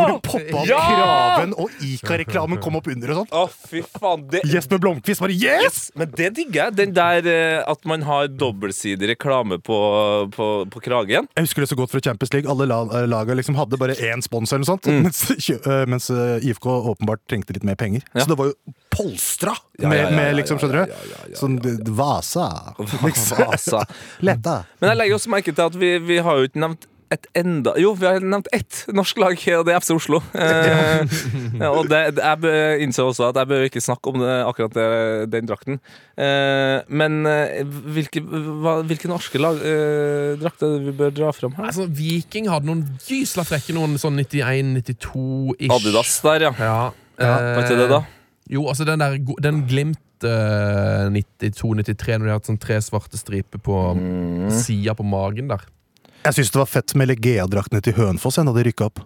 Hvor det poppa opp
Ja!
Kraven og Ika-reklamen kom opp under og sånn.
Å, fy faen. Det,
Jesper Blomkvist bare yes!
men det digger jeg. Den der eh, at man har dobbeltsidig reklame på, på, på kragen.
Jeg husker det så godt fra Champions League. Alle la- laga liksom hadde bare én sponsor, eller noe sånt,
Mm.
mens, kjø- eh, mens eh, IFK åpenbart trengte litt mer penger.
Ja.
Så det var jo polstra
Ja,
med,
ja, ja,
med
ja,
liksom,
ja, ja,
skjønner du?
ja, ja, ja,
Sånn det- Vasa.
Vasa.
Letta.
Men jeg legger også merke til at vi, vi har jo ikke nevnt et enda Jo, vi har nevnt ett norsk lag, og det er FC Oslo. Eh, og det, det- jeg bø- innså også at jeg behøver ikke snakke om det, akkurat det, den drakten. Eh, men eh, hvilke, hva, hvilke norske lag, eh, drakter er det vi bør dra fram her?
Altså, Viking hadde noen gysla frekke, noen sånn 91-92-ish.
Adidas der, ja.
Ja. eh,
Var ikke det, da?
Jo, altså den der go- Den Glimt eh, 92-93, når de har hatt sånn tre svarte striper på sida på magen der.
Jeg syns det var fett med Legea-draktene til Hønefoss jeg, da de rykka opp.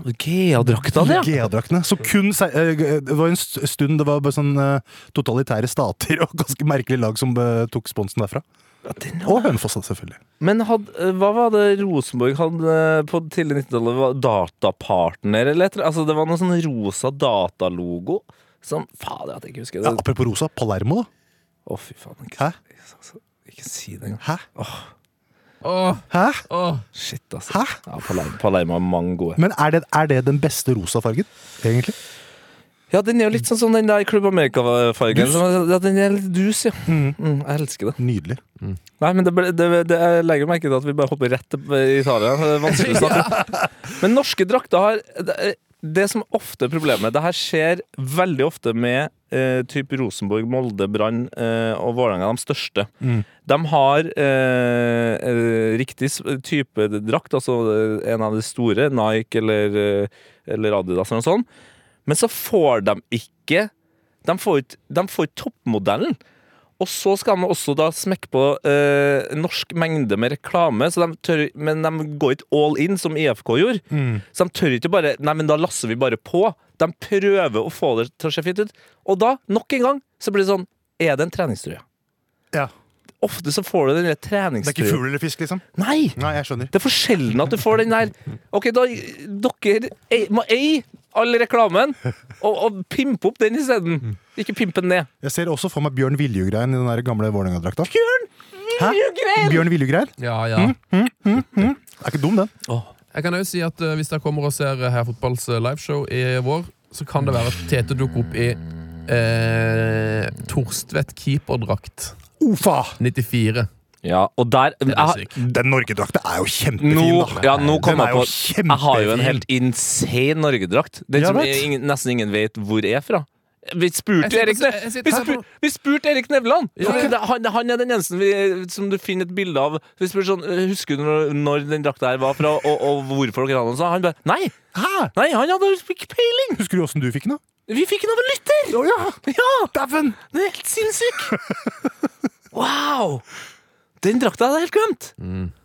Gea-drakta, ja.
Legea-draktene. Så kun se- eh, Det var en st- stund det var bare sånn eh, totalitære stater og ganske merkelige lag som eh, tok sponsen derfra. Og Hønefoss, da, selvfølgelig.
Men had, eh, hva var det Rosenborg hadde eh, på tidlig 90-tallet? Var Datapartner, eller et eller Altså, det var noe sånn rosa datalogo. Som Fader, at jeg ikke husker
Ja,
det.
apropos rosa, Palermo, da.
Å, fy faen. Ikke,
Hæ?
ikke si det engang.
Hæ?
Åh,
Hæ?
åh.
Shit, altså.
Hæ?
Ja, Palermo, Palermo har mange gode.
Men er det, er det den beste rosa fargen, egentlig?
Ja, den er jo litt sånn som den der Club America-fargen. Ja, den er litt dus, ja. Mm, jeg elsker det.
Nydelig.
Nei, men det, ble, det, det, jeg legger merke til at vi bare hopper rett til Italia. Det er vanskelig å snakke om. Men norske drakter har det, det som ofte er problemet Det her skjer veldig ofte med eh, typ Rosenborg, Molde, Brann eh, og Vålerenga, de største. De har eh, eh, riktig s- type drakt, altså eh, en av de store, Nike eller, eh, eller Adidas eller noe sånt. Men så får de ikke De får ikke, de får ikke toppmodellen. Og så skal de også da smekke på eh, norsk mengde med reklame, så de tør, men de går ikke all in, som IFK gjorde.
Mm.
Så de tør ikke bare Nei, men da lasser vi bare på. De prøver å få det til å se fint ut. Og da, nok en gang, så blir det sånn Er det en treningstrøye?
Ja.
Ofte så får du den der
Det er ikke
treningstrøya.
fugl eller fisk, liksom?
Nei!
Nei, jeg skjønner.
Det er for sjelden at du får den der Ok, da dere ei- må eie all reklamen, og, og pimpe opp den
Mm.
isteden. Ikke pimpe den ned.
Jeg ser også for meg Bjørn Viljugrein i den der gamle Vålerenga-drakta.
Bjørn
Bjørn Viljugrein?
Ja, ja.
Er ikke dum, den.
Åh,
Jeg kan også si at eh, Hvis dere kommer og ser eh, Heia Fotballs eh, liveshow i vår, så kan det være at Tete dukker opp i eh, Torstvedt keeperdrakt
Ufa!
94.
Ja, og der
Den er
jeg,
syk.
Den Norgedrakta er jo kjempefin,
nå,
da.
ja, nå kom
Den
jeg
er
på
jo
Jeg har jo en
kjempefin.
helt insane Norgedrakt. Den
Jeg
som
vet.
ingen, nesten ingen vet hvor er fra. Vi
Jeg
spurte
sitter-
Erik, Ne-
jeg sitter
vi
her
spur,
på-
vi spurte Erik Nevland!
Ja, ja.
Det- Han, han er den eneste vi, som du finner et bilde av. Vi spurte sånn, Husker du når, når den drakta her var fra, og, og hvorfor dere hadde den? Så han bare Nei!
Hæ?
nei, Han hadde ikke peiling!
Husker du åssen du fikk den, da?
Vi fikk den av en lytter!
Å ja!
Ja!
Dæven!
Den er helt sinnssyk! Wow! Den drakta hadde jeg helt glemt!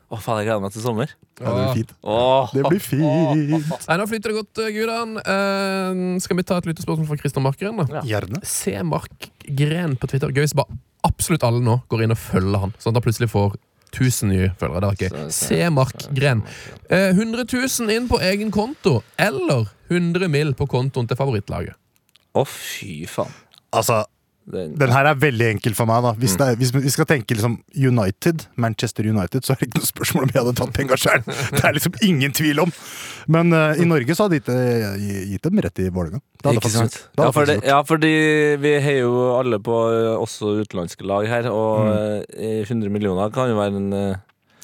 Å, faen, jeg gleder meg til sommer.
Mm. Ja, det blir fint.
Åh.
Det blir fint.
Nei, nå flyter det godt, eh, Gudan. Eh, skal vi ta et lyttespørsmål fra Christian Markgren? da?
Gjerne.
Se Mark Gren på Twitter. Gøy hvis bare absolutt alle nå går inn og følger han, sånn at han plutselig får 1000 nye følgere. Det var gøy. Se Mark Gren. Eh, 100 000 inn på egen konto, eller 100 mill. på kontoen til favorittlaget.
Å, fy faen.
Altså,
Den,
den her er veldig enkel for meg, da. Hvis, det er, hvis vi skal tenke liksom United, Manchester United, så er det ikke noe spørsmål om jeg hadde tatt penga sjøl. Det er liksom ingen tvil om. Men eh, i Norge så hadde jeg ikke- jeg gitt dem rett i Vålerenga. Det hadde jeg
Ikke
faktisk
sant?
gjort.
Ja,
Det hadde jeg
for det-
faktisk gjort.
ja, fordi vi heier jo alle på eh, også utenlandske lag her, og
Mm.
eh, 100 millioner kan jo være en eh,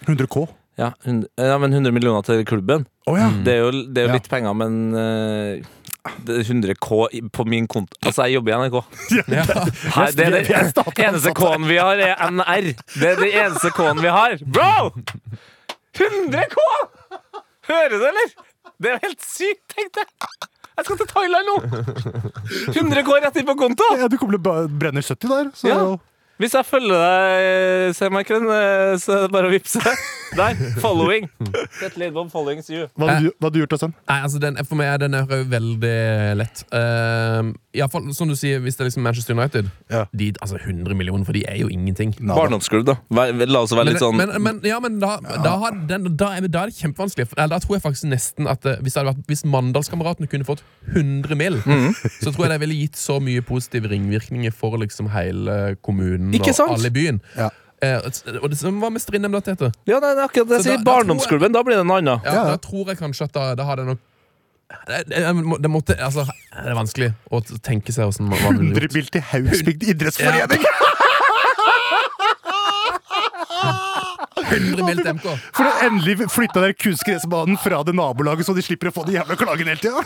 100 K.
ja, 100, ja, men 100 millioner til klubben.
Å ja.
Mm. Det er jo, det er jo
Ja.
litt penger, men eh, det er 100 K i- på min konto Altså, jeg jobber i NRK. Her, det er
Vi er
det
statlig
eneste
ansatte.
K-en vi har, er NR. Det er det eneste K-en vi har. Bro! 100 K! Hører du, eller? Det er jo helt sykt, tenkte jeg. Jeg skal til Thailand nå! 100 K rett inn på konto!
Ja, du kommer til å ba- brenne 70 der, så
Ja. Hvis jeg følger deg, Semarken, eh, så er det bare å vippse. Der. Following. Sett litt på followings you.
hva, hadde du, hva hadde du gjort da, Sam?
Nei, altså den, For meg er den her veldig lett. Uh, Iallfall som du sier, hvis det er liksom Manchester United.
Ja.
De, altså 100 millioner, for de er jo ingenting.
Barndomsklubb, da. Vær- La oss være
Men,
litt sånn
men, men, ja, men da, da, har den, da, er, da er det kjempevanskelig. For- Eller, da tror jeg faktisk nesten at eh, Hvis, det hadde vært- hvis Mandalskameratene kunne fått 100 mill.,
Mhm.
så tror jeg det ville gitt så mye positive ringvirkninger for liksom hele kommunen
Ikke sant?
og alle i byen.
Ja.
Eh, og det, hva med Strindheim, da, Tete?
Ja, det er akkurat
Så da- da
det jeg sier.
tror jeg-
Barndomsklubben, da blir det noe annet.
Ja,
Ja.
Da tror jeg kanskje at da, da hadde jeg nok det, det, det, måtte, altså, det er vanskelig å t- tenke seg hvordan man, man ville gjort.
Dribil til Haugsbygd idrettsforening!
100 mill. til MK.
For å endelig flytta dere kunstgressbanen fra det nabolaget, så de slipper å få de jævla klagene hele tida!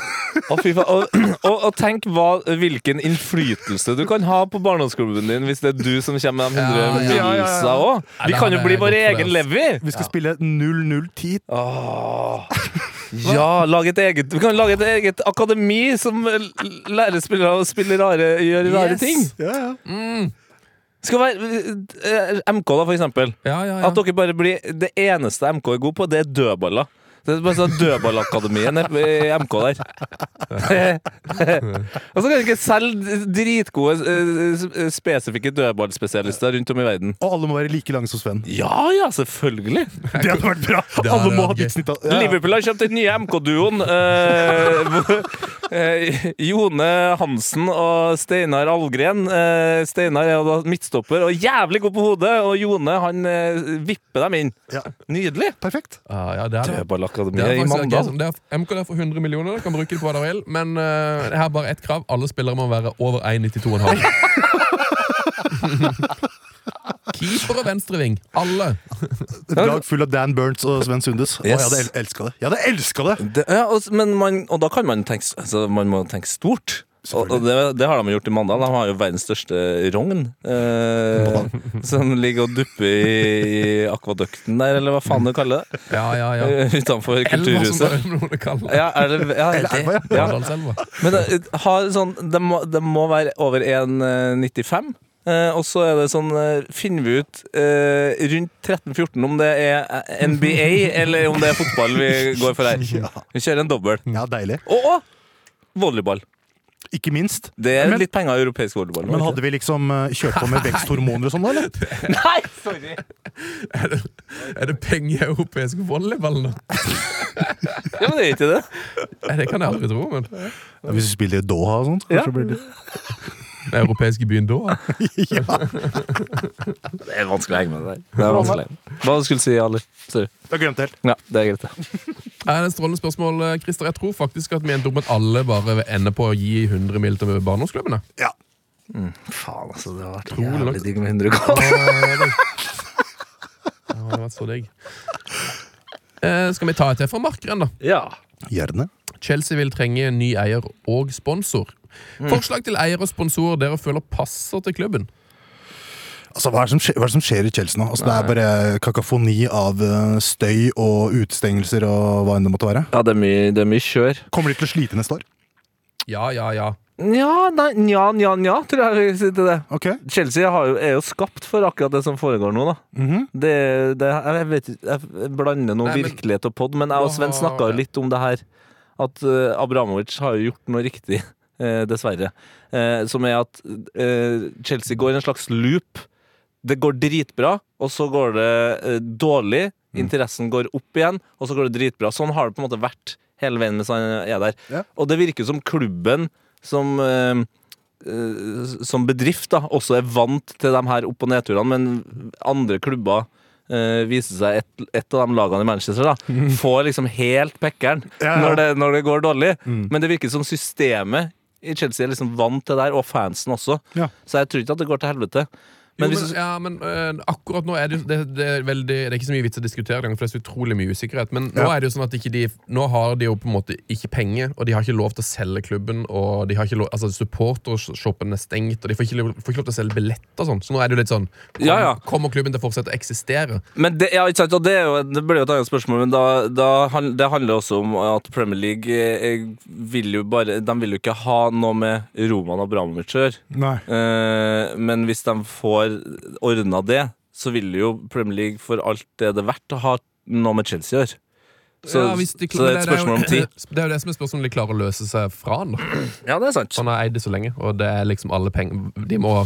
Å, fy faen. Og, og, og tenk hva, hvilken innflytelse du kan ha på barndomsklubben din hvis det er du som kommer med de 100
Ja, ja,
ja, ja.
millionsa òg.
Ja,
Vi
da
kan jo
hadde
bli
jeg
vår
gått for det,
egen
altså.
Levi!
Vi skal spille 0-0-10.
Åh. Ja, lag et eget, vi kan lage et eget akademi som l- lærer spillere å spille rare, gjøre rare
Yes.
ting.
Ja, ja.
Skal være eh, MK, da, for eksempel.
Ja, ja, ja.
At dere bare blir Det eneste MK er god på, det er dødballer. Det er bare sånn Dødballakademien er i MK der. og så kan dere ikke selge dritgode, eh, s- spesifikke dødballspesialister rundt om i verden.
Og alle må være like lange som Sven.
Ja ja, selvfølgelig!
Det hadde vært bra!
hadde
Alle må
vært
ha
gøy.
ditt snitt. av- Ja, ja.
Liverpool har kjøpt den nye MK-duoen. eh, hvor- eh, Jone Hansen og Steinar Algren. Eh, Steinar er jo da midtstopper og jævlig god på hodet, og Jone han eh, vipper dem inn.
Ja.
Nydelig!
Perfekt.
Ja, ja, det er det. Det
Dødballakademiet
er
i
faktisk sånn, helt greit.
Mandal.
Det er MK der for 100 millioner, dere kan bruke det på hva dere vil. Men eh, det her er bare ett krav. Alle spillere må være over 1,92,5. Keeper og venstreving. Alle.
Et lag full av Dan Burns og Sven Sundes. Å, jeg
Yes.
hadde el elska det. Jeg hadde elska det!
Det, ja, og, s- men man, og da kan man tenke, s- altså, man må tenke stort. Og, og det, det har de gjort i Mandal. De har jo verdens største rogn. Eh, som ligger og dupper i, i akvadukten der, eller hva faen du kaller det.
Ja, ja, ja.
Eh,
Elva,
Utenfor
som
kulturhuset.
det er noen det kaller det.
Ja, er det, ja, det, ja.
Mandalselva.
Men det, har sånn, det, må, det må være over 1,95. Eh, og så er det sånn eh, Finner vi ut eh, rundt 13-14 om det er eh, NBA eller om det er fotball vi går for her.
Mm.
Vi kjører en dobbel.
Ja, deilig.
Og, og volleyball.
Ikke minst.
Det er
Men-
litt penger i europeisk volleyball.
Men hadde vi liksom eh, kjørt på med veksthormoner og sånn, da? eller?
Nei, sorry!
Er det penger i europeisk volleyball nå?
Ja, men det er ikke det.
Nei, Det kan jeg aldri tro. men
Ja, Hvis du spiller i Doha og sånt, kanskje
Ja.
det blir litt
Den europeiske byen da?
ja.
Det er vanskelig å henge med det der. Det er vanskelig. Hva skulle du si, Ali? Sorry.
Jeg har glemt det helt.
Ja, det er greit, det.
Ja, det er et strålende spørsmål, eh, Christer. Jeg tror faktisk at vi endte opp med at alle bare ender på å gi 100 mil til barndomsklubbene.
Ja.
Faen, altså. Det har vært
Utrolig nok.
jævlig digg med 100 K.
Ja, det har vært så digg. Eh, skal vi ta et til fra markeren, da?
Ja.
Gjerne.
Chelsea vil trenge ny eier og sponsor. Forslag til eier og sponsorer dere føler passer til klubben.
Altså, hva er, det som skjer, hva er det som skjer i Chelsea nå? Altså, det er bare kakafoni av eh, støy og utestengelser og hva enn det måtte være.
ja, det er mye, det er mye kjør.
Kommer de til å slite neste år?
Ja, ja, ja.
Nja, nei, nja, nja, nja, tror jeg vi sier til det.
Ok.
Chelsea har jo, er jo skapt for akkurat det som foregår nå, da.
Mm-hmm.
det, det, jeg, vet, ikke- jeg blander nå
Nei, men-
virkelighet og pod, men jeg og Sven
Hva-
snakka jo litt om det her. At eh, Abramovic har jo gjort noe riktig, eh, dessverre. Eh, som er at eh, Chelsea går i en slags loop. Det går dritbra, og så går det eh, dårlig.
Mm.
Interessen går opp igjen, og så går det dritbra. Sånn har det på en måte vært hele veien mens han er der.
Ja.
Og det virker som klubben som eh, eh, som bedrift da, også er vant til de her opp- og nedturene, men andre klubber eh, viser seg et, et av de lagene i Manchester da, får liksom helt pekkeren
Mm. Ja, Mm. ja.
Når, det, når det går dårlig. Men det virker som systemet i Chelsea er liksom vant til det her, og fansen også.
Ja.
Så jeg tror ikke at det går til helvete.
Jo,
Men hvis,
men, ja, men eh, akkurat nå er det, jo- det, det, er veldig, det er ikke så mye vits å diskutere det, for det er så utrolig mye usikkerhet. Men nå
Ja.
er det jo sånn at ikke de, nå har de jo på en måte ikke penger, og de har ikke lov til å selge klubben. Og de har ikke lov, altså Supportershoppen er stengt, og de får ikke, lov- får ikke lov til å selge billetter. og Sånn. Så nå er det jo litt sånn kom,
Ja, ja.
Kommer klubben til å fortsette å eksistere?
Men det, ja, ikke sant, og det, er jo, det blir jo et annet spørsmål, men da, da, han- det handler også om at Premier League eh, vil jo bare, de vil jo ikke ha noe med Roman Abramovic å gjøre.
Nei.
Eh, men hvis de får ordna det, så vil jo Premier League for alt det det er verdt å ha noe med Chelsea å gjøre. Så,
Ja, hvis de-
så det er et
men
spørsmål om
det er jo-
tid.
Det er jo det som er spørsmålet om de klarer å løse seg fra den. da.
Ja, det er sant.
Han har eid det så lenge, og det er liksom alle penger De må,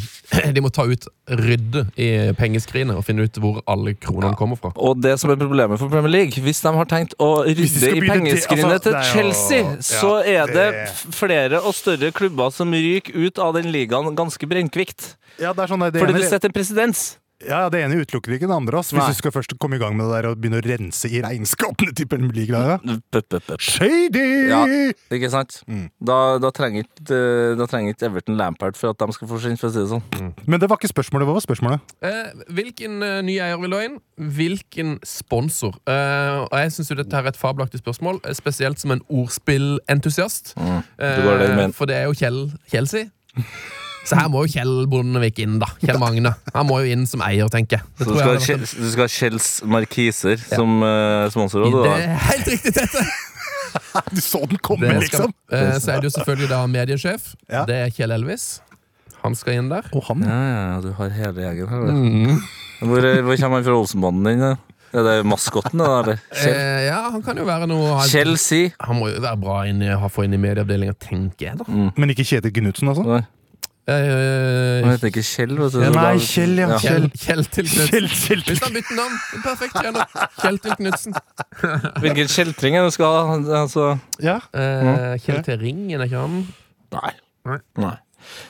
de må ta ut rydde i pengeskrinet og finne ut hvor alle kronene kommer fra.
Og det som er problemet for Premier League Hvis de har tenkt å rydde
skal
i
begynne det-
pengeskrinet
altså,
til
det er jo-
Chelsea,
ja,
så er det
det-
f- flere og større klubber som ryker ut av den ligaen ganske brennkvikt.
Ja, det er sånn, det, det,
Fordi du
ene,
setter en presedens.
ja, det ene utelukker ikke det andre. Ass.
Nei.
Hvis du skal først komme i gang med det der og begynne å rense i regnskapene til Premier League. da, ja.
Pup, pup, Mm. pup.
Shady!
Ja. Ikke sant? Da, da trenger ikke eh, da trenger ikke Everton Lampard for at de skal forsvinne, for å si det sånn.
Men det var ikke spørsmålet. Hva var spørsmålet?
Eh, hvilken eh, ny eier vil du ha inn? Hvilken sponsor? Eh, og Jeg syns dette her er et fabelaktig spørsmål, eh, spesielt som en ordspillentusiast.
Mm,
Eh,
det går det jeg mener.
for det er jo Kjell Kjelsi. Så her må jo Kjell Bondevik inn, da. Kjell Magne. Han må jo inn som eier, tenker jeg. Det
Så du
tror
skal,
jeg
ha
hadde vært en-
Kjell- du skal ha Kjells Markiser som eh, sponsor? også,
det
da.
er helt riktig, dette!
Du så den komme,
Det skal,
liksom!
eh, så er det jo selvfølgelig da mediesjef.
Ja.
Det er Kjell Elvis. Han skal inn der.
Og han
Ja, ja, ja, du har hele egen her. du. Hvor, eh, hvor kommer han fra Olsenbanden din? da? Er det maskotten, da? Eller? Kjell,
Eh, ja, han kan jo være noe han-
Kjell Si?
Han må jo være bra inn i, ha- få inn i medieavdelinga, tenker jeg, da.
Men ikke Kjetil Knutsen, altså?
Nei,
Eh,
Han heter ikke Kjell, vet du. så
Nei,
da-
Kjell, ja.
Kjell, Kjell til Knutsen.
Kjell, Kjell.
Hvis han bytter navn, en perfekt trener. Kjell til Knutsen.
Hvilken kjeltring er det du skal ha? Altså.
Ja.
Eh, Kjell til Ringen, er ikke han?
Nei.
Nei.
Nei.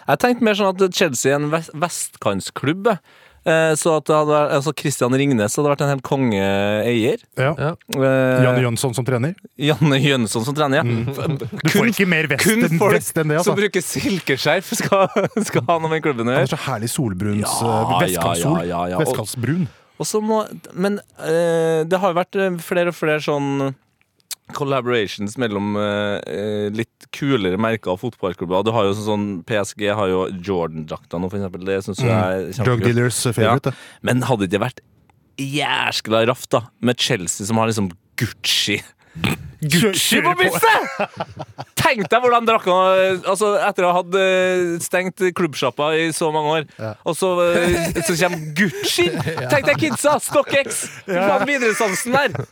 Jeg tenkte mer sånn at Chelsea er en vest vestkantsklubb. jeg. Eh, Så at det hadde vært, altså Christian Ringnes hadde vært en helt kongeeier.
ja.
Ja.
Eh,
Jan Jønsson som trener.
Janne Jønsson som trener, ja.
Du får ikke mer vest
Kun
enn,
folk
vest enn det, altså.
som bruker silkeskjerf, skal, skal ha noe med klubben å
Han har
gjøre.
så herlig solbruns
Ja,
eh, Vestkantsol.
ja, ja, ja, ja. Og-
Vestkantsbrun.
Og så må, men eh, det har jo vært eh, flere og flere sånn collaborations mellom eh, eh, litt kulere merker av fotballklubber. Du har jo sånn, sånn PSG har jo Jordan-drakta nå, for eksempel. Det syns jeg er
Drug
kjempekult.
dealers eh, favorite.
Ja. Men hadde det ikke vært jæskla raft, da, med Chelsea som har liksom Gucci Gucci på brystet! Tenk deg hvordan drakka altså, Etter å ha hatt eh, stengt klubbsjappa i så mange år, og så, eh, så kommer Gucci! Tenk deg kidsa! StockX! Du får videresansen der!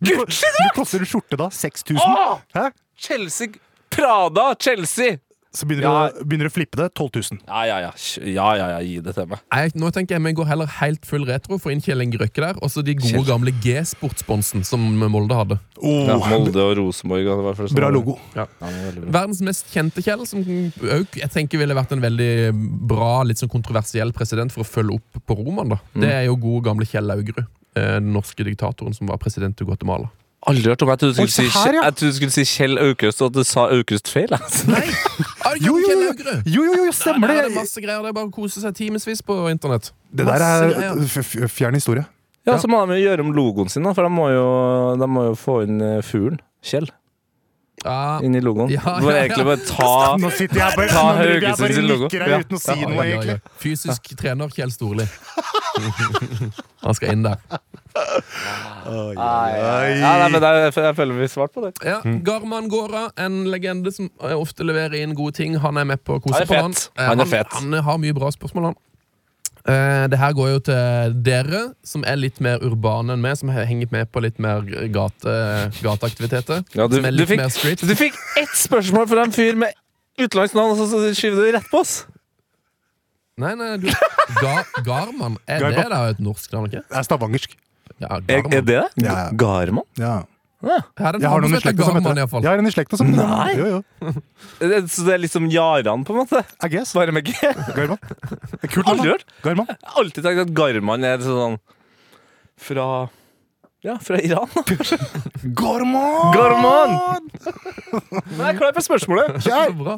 Gucci,
Du
da!
koster en skjorte da? 6000?
Åh!
Hæ?
Chelsea Prada, Chelsea!
Så begynner, du, begynner du å flippe det. 12 000.
Ja, ja, ja. Ja, ja, ja. Gi det til meg.
Jeg, nå tenker jeg vi går heller helt full retro, får inn Kjell Inge Røkke der. Og så de gode
Kjell.
gamle G-sportsponsen som Molde hadde.
Oh,
Ja, Molde og Rosenborg. og det var for sånn-
Bra logo.
Verdens mest kjente Kjell, som òg jeg tenker ville vært en veldig bra, litt sånn kontroversiell president for å følge opp Mm. på Roman, da. Det er jo gode gamle Kjell Laugerud. eh, Den norske diktatoren som var president i Guatemala.
aldri hørt om. Jeg trodde du
Oi,
skulle, si,
se her, ja.
jeg trodde du skulle si Kjell Aukrust, og at du sa Aukrust feil. Altså.
Nei! Har du ikke
Jo,
hørt
jo,
om Kjell
jo,
Augre?
jo, jo, jo stemmer
Nei, det er
det!
masse greier. Det er bare å kose seg timevis på internett.
Det der
masse
er
greier.
f- f- fjern historie.
Ja, Så må de jo gjøre om logoen sin, da, for de må jo, de må jo få inn eh, fuglen. Kjell
Ja,
inn i logoen.
Ja,
Du må
ja, ja.
egentlig bare ta
Nå sitter jeg bare,
Ta
nå driver jeg
Haugesund
bare
sin logo.
nikker
Ja.
her uten å si
Ja,
noe,
ja, ja.
egentlig.
Fysisk trener Kjell Storli. Han skal inn der.
ja, nei, men jeg, jeg føler vi svarte på det.
Ja, Garman Gåra, en legende som eh, ofte leverer inn gode ting. Han er med på å kose
Han er
på han.
fet.
Eh,
Han er fet.
Han, han har mye bra spørsmål, han. Eh, det her går jo til dere som er litt mer urbane enn meg, som har hengt med på litt mer gate, gateaktiviteter.
Ja, du,
som er
du,
litt
fikk,
mer street.
du fikk ett spørsmål fra en fyr med utenlandsk navn, og så- så skyver du det rett på oss!
Nei, nei, du Ga, Garman, er
Garman.
det da et norsk navn, ikke?
Det er stavangersk.
Ja,
Er,
Garman.
er det det?
Ja, ja.
Garman?
Ja.
Her er det
Jeg har noen i slekta som heter
Garman,
det.
iallfall.
Jeg har en i slekta som
Nei.
Jo, jo.
Det- Eh, Så det er litt som Jaran, på en måte?
I guess.
Bare med G? Jeg
Garman. Det er kult
Aldri
navn.
hørt.
Garman.
har alltid tenkt at Garman er sånn fra ja, fra Iran.
Garman!
Garman! Nei, klar for spørsmålet.
Så bra.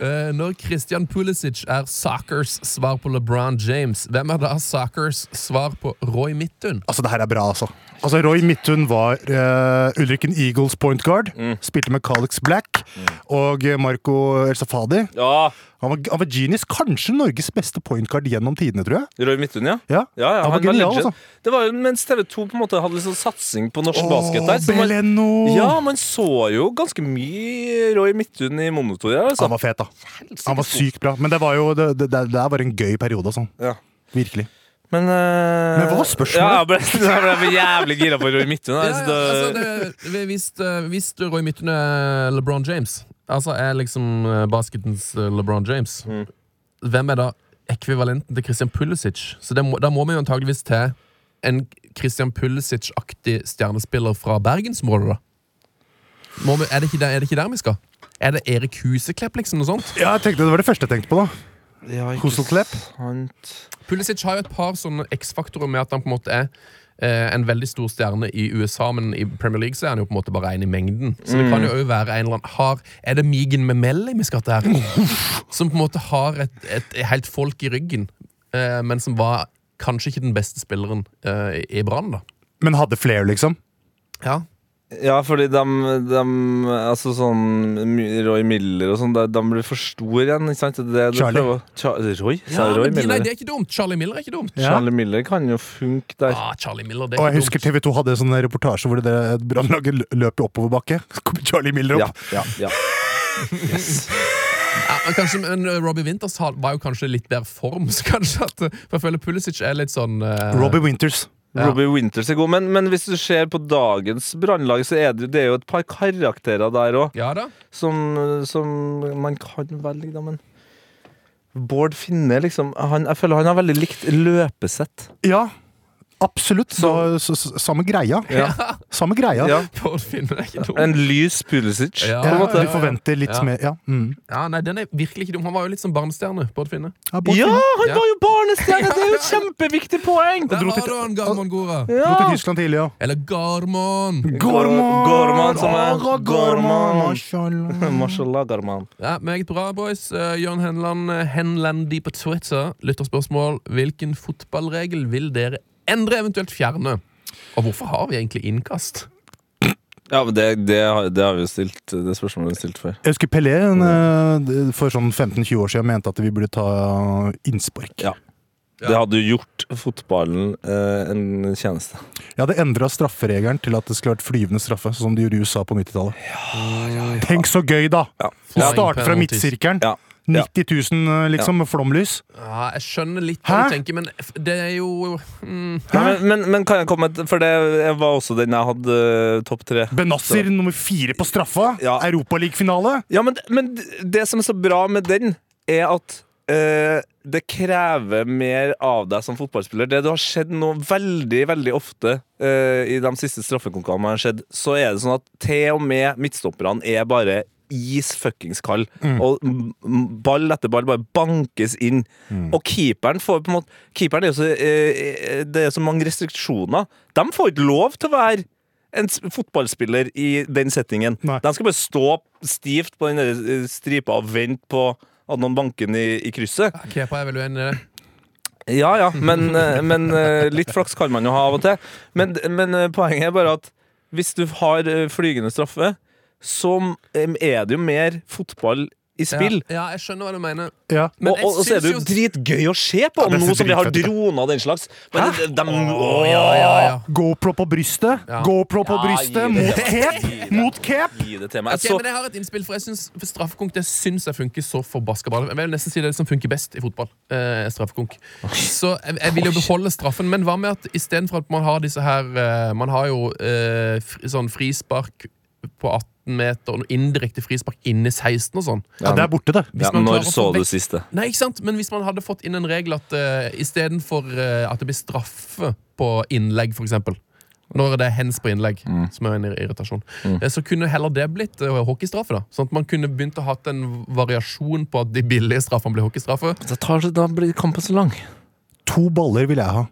Eh, når Christian Pulisic er Sockers svar på LeBron James, hvem er da Sockers svar på Roy Midtun?
Altså, det her er bra, altså. Altså, Roy Midthun var eh, Ulriken Eagles point guard.
Mm.
Spilte med Calix Black og eh, Marco El Safadi.
Ja,
Han var, han var genius. Kanskje Norges beste point guard gjennom tidene, tror jeg.
Roy Midtun, ja.
Ja,
Ja, ja,
Han var genial,
legend.
altså.
Det var jo mens TV2 på en måte hadde litt sånn satsing på norsk basket der.
Åh,
så man-
Beleno!
Ja, man så jo ganske mye Roy Midtun i monitor. Ja, altså.
Han var fet, da. Han var sykt bra. Men det var jo Det, det, det der var en gøy periode, altså.
Ja.
Virkelig.
Men, eh,
Men hva var spørsmålet?
Ja, jeg ble, jeg ble jævlig gira på Roy Midtun.
Ja,
Altså,
ja, altså,
det,
det- vi- Hvis eh, hvis Roy Midtun er LeBron James, altså er liksom eh, basketens eh, LeBron James,
Mm.
hvem er da ekvivalenten til Christian Pulisic? Så det må, da må vi jo antageligvis til en Christian Pulisic-aktig stjernespiller fra bergensområdet, da. Må vi, er, det ikke der, er det ikke der vi skal? Er det Erik Huseklepp, liksom? Noe sånt?
Ja, jeg tenkte Det var det første jeg tenkte på, da.
ja, ikke
Hoselklepp.
sant.
Pulisic har jo et par sånne X-faktorer med at han på en måte er eh, en veldig stor stjerne i USA, men i Premier League så er han jo på en måte bare en i mengden. Så det kan jo også være en eller annen har, Er det Migen Memeli vi skal til her? Som på en måte har et, et helt folk i ryggen, eh, men som var kanskje ikke den beste spilleren eh, i Brann, da.
Men hadde flere, liksom.
Ja.
Ja, fordi de, Altså sånn My- Roy Miller og sånn, de, de blir for store igjen, ikke sant? Det, er det du
Charlie.
prøver- Cha Roy? Sa
Ja,
jeg Roy
men de, nei,
Miller?
det er ikke dumt. Charlie Miller er ikke dumt.
Charlie Miller kan jo funke der.
Ah, Charlie Miller, det
Og
er ikke
jeg husker
dumt.
TV 2 hadde en sånn reportasje hvor det der brannlaget lø- løp i oppoverbakke. Så kom Charlie Miller
Ja,
opp.
ja, ja.
Ja, og kanskje, men eh, Robbie Winters har- var jo kanskje litt bedre form, så kanskje at eh, For jeg føler Pulisic er litt sånn eh,
Robbie Winters.
Ja.
Robbie Winters er god, men, men hvis du ser på dagens brannlag, så er det, det er jo et par karakterer der òg
Ja da.
som, som man kan velge, da, men Bård Finne, liksom. Han, jeg føler han har veldig likt løpesett.
Ja, absolutt. Så, så, så, samme greia.
Ja.
Samme greia.
Ja.
Bård Finne er ikke dum.
En lys Pulisic.
Ja.
på en måte.
du forventer litt
Ja.
mer ja. Mm.
Ja, nei, den er virkelig ikke dum. Han var jo litt som barnestjerne, Bård Finne.
Ja, Bård
Ja,
Finne.
han
Ja.
var jo barnestjerne! Det er jo et kjempeviktig poeng!
Der
dro til-
har du han, Garman Gora.
Dro til Tyskland tidlig, ja.
Eller Garman.
Gorman! Gorman, som er-
Åh,
Gorman.
Mashallah.
Mashallah, Garman.
Ja, meget bra, boys. Uh, Jørn Henland, eh, Henlandi på Twitter. Lytterspørsmål. Hvilken fotballregel vil dere endre, eventuelt fjerne? Og hvorfor har vi egentlig innkast?
Ja, men det, det, har- det har vi jo stilt Det spørsmålet vi har stilt før.
Jeg husker Pelé en, eh, for sånn 15-20 år siden mente at vi burde ta innspark.
Ja. Det hadde jo gjort fotballen eh, en tjeneste.
Jeg hadde endra strafferegelen til at det skulle vært flyvende straffe, sånn som de gjorde i USA på 90-tallet. Tenk så gøy, da!
Ja.
Å
Ja.
starte fra midtsirkelen.
Ja. Ja.
90 000, liksom, med flomlys.
Ja, jeg skjønner litt hva
Hæ?
du tenker, men f- det er jo mm,
Nei, men, men, men kan jeg komme med et- For det var også den jeg hadde eh, topp tre.
Benazir nummer fire på straffa.
Ja.
Europaligafinale.
Ja, men, men det som er så bra med den, er at eh, det krever mer av deg som fotballspiller. Det du har sett nå veldig veldig ofte eh, i de siste straffekonkurransene, jeg har sett, så er det sånn at til og med midtstopperne er bare is fuckings kald. Og m- m- ball etter ball bare bankes inn. Og keeperen får på en måte Keeperen er jo så eh, eh, Det er så mange restriksjoner. De får ikke lov til å være
en s- fotballspiller i den settingen.
Nei.
De skal bare stå stivt på den der eh, stripa og vente på at noen banker den i, i krysset.
Kepa er vel uenig i det.
Ja ja, men, eh, men eh, litt flaks kan man jo ha av og til. Men, men eh, poenget er bare at hvis du har eh, flygende straffe, så eh, er det jo mer fotball i spill.
Ja, ja, jeg skjønner hva du mener.
Ja.
Men
og, og, og så er det jo
jeg syns
dritgøy å se på,
det er
nå
så
som vi har
dritfett, ja.
droner og den slags. Men de, de,
jo ja, ja, ja.
GoPro på brystet.
Ja.
GoPro på
Ja, gi
brystet
det
mot
til meg. Gi
cape!
det.
Mot cape!
Gi det til meg.
Ok,
Altså,
Så-
men Altså, Jeg har et innspill, for jeg synes, for straffekonk det syns jeg funker så forbaska bra. Jeg vil nesten si det er det som funker best i fotball. Eh, straffekonk. Så jeg, jeg vil jo beholde straffen, men hva med at istedenfor at man har disse her eh, Man har jo eh, fri, sånn frispark på 18 meter og indirekte frispark inni 16 og sånn.
Ja, det er borte, det.
ja,
man klarer
når
å få
så du
vekk-
siste?
Nei, ikke sant? Men hvis man hadde fått inn en regel at uh, istedenfor eh, at det blir straffe på innlegg, f.eks.
Mm.
Når det er hands på innlegg, som er en ir- irritasjon, eh, så kunne heller det blitt eh, hockeystraffe. da Sånn at man kunne begynt å hatt en variasjon på at de billige straffene blir hockeystraffe.
da blir kampen så lang.
To baller vil jeg ha.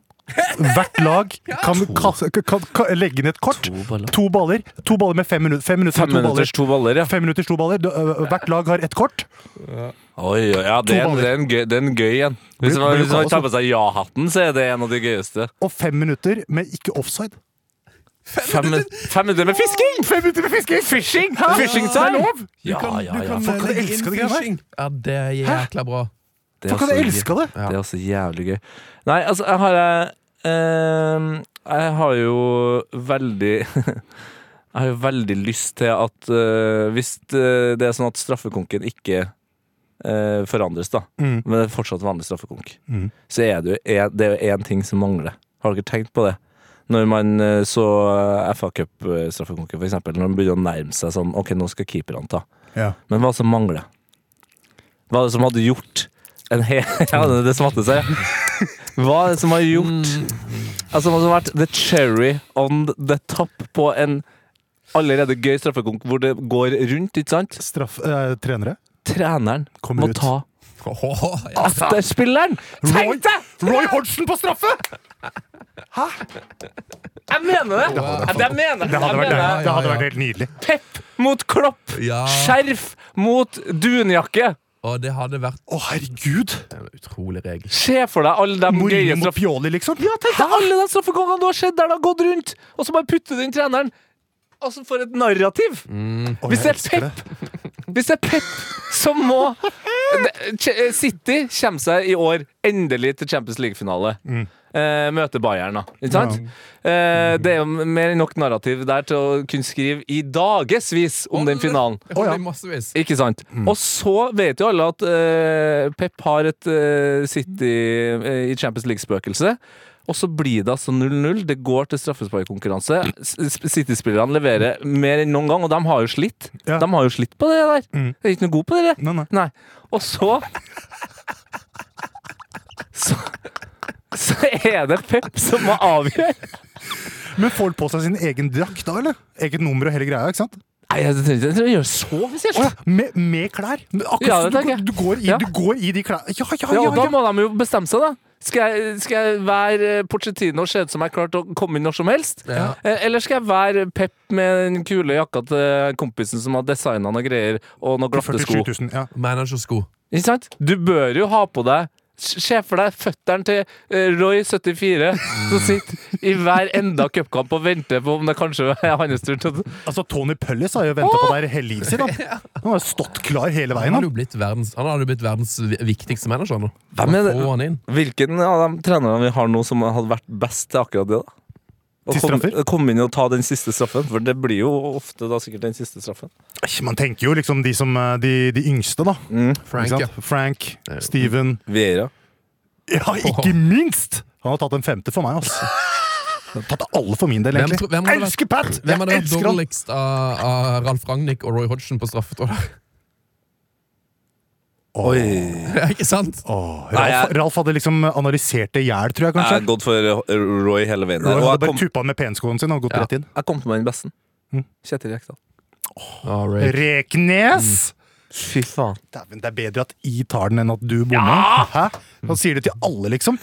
Hvert lag kan, kaste- kan, kan, legge inn et kort. To
baller.
baller. To baller, med fem minutter. Fem minutter
Fem
med to
minutters
baller.
to baller, ja.
Fem minutters to baller. Du, øh, Hvert lag har ett kort.
Oi, oi, ja, det, er,
To
en-
baller.
det, er en gøy, det er en gøy en. Hvis
Blir- altså-
man,
blir
hvis man
kaos,
tar på seg ja-hatten, så er det en av de gøyeste.
Og fem minutter med ikke offside.
Fem, min- fem minutter med fisking!
Fem minutter med fisking! Fishing! Fishing
Det er
time!
lov! Ja, ja, ja.
Folk hadde elska det greiene der.
Ja, det er jækla bra.
Det er
Folk hadde
også gøy.
elska det.
Det er også jævlig gøy. Nei, altså, jeg har eh, Jeg har jo veldig Jeg har jo veldig lyst til at eh, Hvis det det er sånn at straffekonken ikke eh, forandres, da,
Mm.
men det er fortsatt vanlig straffekonk,
Mm.
så er det jo en, det er jo én ting som mangler. Har dere tenkt på det? Når man eh, så eh, FA Cup-straffekonken, for eksempel, når man begynner å nærme seg sånn Ok, nå skal keeperne ta.
Ja.
Men hva som mangler? Hva er det som hadde gjort en hel Ja, det, det smatte seg. Hva er det som har gjort Altså, hva som har vært the cherry on the top på en allerede gøy straffekonk hvor det går rundt, ikke sant?
Straff... eh, trenere.
Treneren
Kommer
må
ut.
ta
Åh, ja.
etterspilleren!
Roy,
Tenk deg!
Roy Hodgson på straffe!
Jeg mener det! Jeg mener jeg mener
Det hadde vært, det hadde
ja.
vært helt nydelig.
Pep mot Klopp!
Ja.
Skjerf mot dunjakke!
Og det hadde vært
Å, herregud!
en utrolig regel.
Se for deg alle de gøye
Mourinho mot
straff...
Pioli, liksom.
Ja, tenk deg alle de straffegangene du har sett der det har gått rundt, og så bare putter du inn treneren. Altså, for et narrativ!
Å,
Hvis det
jeg elsker
er Hvis det er Pep som må Det- Ch- eh, City kommer seg i år endelig til Champions League-finale. Eh, møter Bayern, da. Ikke sant? Eh, det er jo mer enn nok narrativ der til å kunne skrive i dagevis om den finalen.
Jeg holder i massevis.
Ikke sant?
Mm.
Og så vet jo alle at eh, Pep har et eh, City eh, i Champions League-spøkelse. Og så blir det altså 0-0. Det går til straffesparkkonkurranse. S- s- City-spillerne leverer mer enn noen gang, og de har jo slitt.
Ja.
De har jo slitt på det der.
Mm.
Jeg er ikke noe god på det. der.
Nei, nei.
Og så Så, så er det Pep som må avgjøre.
Men får han på seg sin egen drakt da, eller? Eget nummer og hele greia, ikke sant?
Nei, jeg trenger ikke jeg trenger ikke å gjøre så
Å ja,
spesielt.
med, med klær! Men Akkurat,
Ja, det
du,
tenker jeg.
du, går i,
Ja.
du går i de klærne Ja, ja,
Ja,
ja!
og da
ja.
må de jo bestemme seg, da. Skal jeg, skal jeg være eh, Pochettino og se ut som jeg klarte å komme inn når som helst?
Ja.
Eh, Eller skal jeg være Pep med den kule jakka til kompisen som har designa noe greier, og noen glatte
47
sko?
000, ja.
Managersko.
Ikke sant? Du bør jo ha på deg Se for deg føtteren til eh, Roy74 som sitter i hver enda cupkamp og venter på om det kanskje er hans tur til å
Altså, Tony Pullis har jo venta på deg hele livet sitt. Han. han har stått klar hele veien.
Han hadde
Han.
jo blitt verdens, han hadde jo blitt verdens vi- viktigste manager nå.
Hvem er det?
Få han inn.
Hvilken av de trenerne vi har nå som hadde vært best til akkurat det, da? Å
Til
komme
straffer?
komme inn og ta den siste straffen, for det blir jo ofte da sikkert den siste straffen.
Eish, Man tenker jo liksom de, som, eh, de, de yngste, da.
Frank,
Ikke
ja.
sant? Frank, Steven
Vera.
Ja, ikke minst! Han har tatt en femte for meg, altså. Han har Tatt alle for min del,
Hvem
egentlig.
tro- hvem hadde vært-
elsker Pat!
Hvem hadde
Jeg
vært
elsker han!
dårligst av, av Ralf Ragnhild og Roy Hodgson på straffetråder?
Oi.
Ikke sant?
Åh,
Nei,
Ralf,
jeg-
Ralf hadde liksom analysert det i hjel, tror
Jeg
jeg,
har
kanskje.
gått for eh, Roy hele veien. Der. Og
Roy hadde
jeg
bare
kom,
tuppa han med penskoen sin og gått
Ja.
rett inn.
jeg kom på meg den besten.
Mm.
Kjetil Rekdal.
All right. Mm.
Reknes!
Fy faen.
Dæven, det er bedre at I tar den enn at du bommer. Hæ? Han sier det til alle, liksom.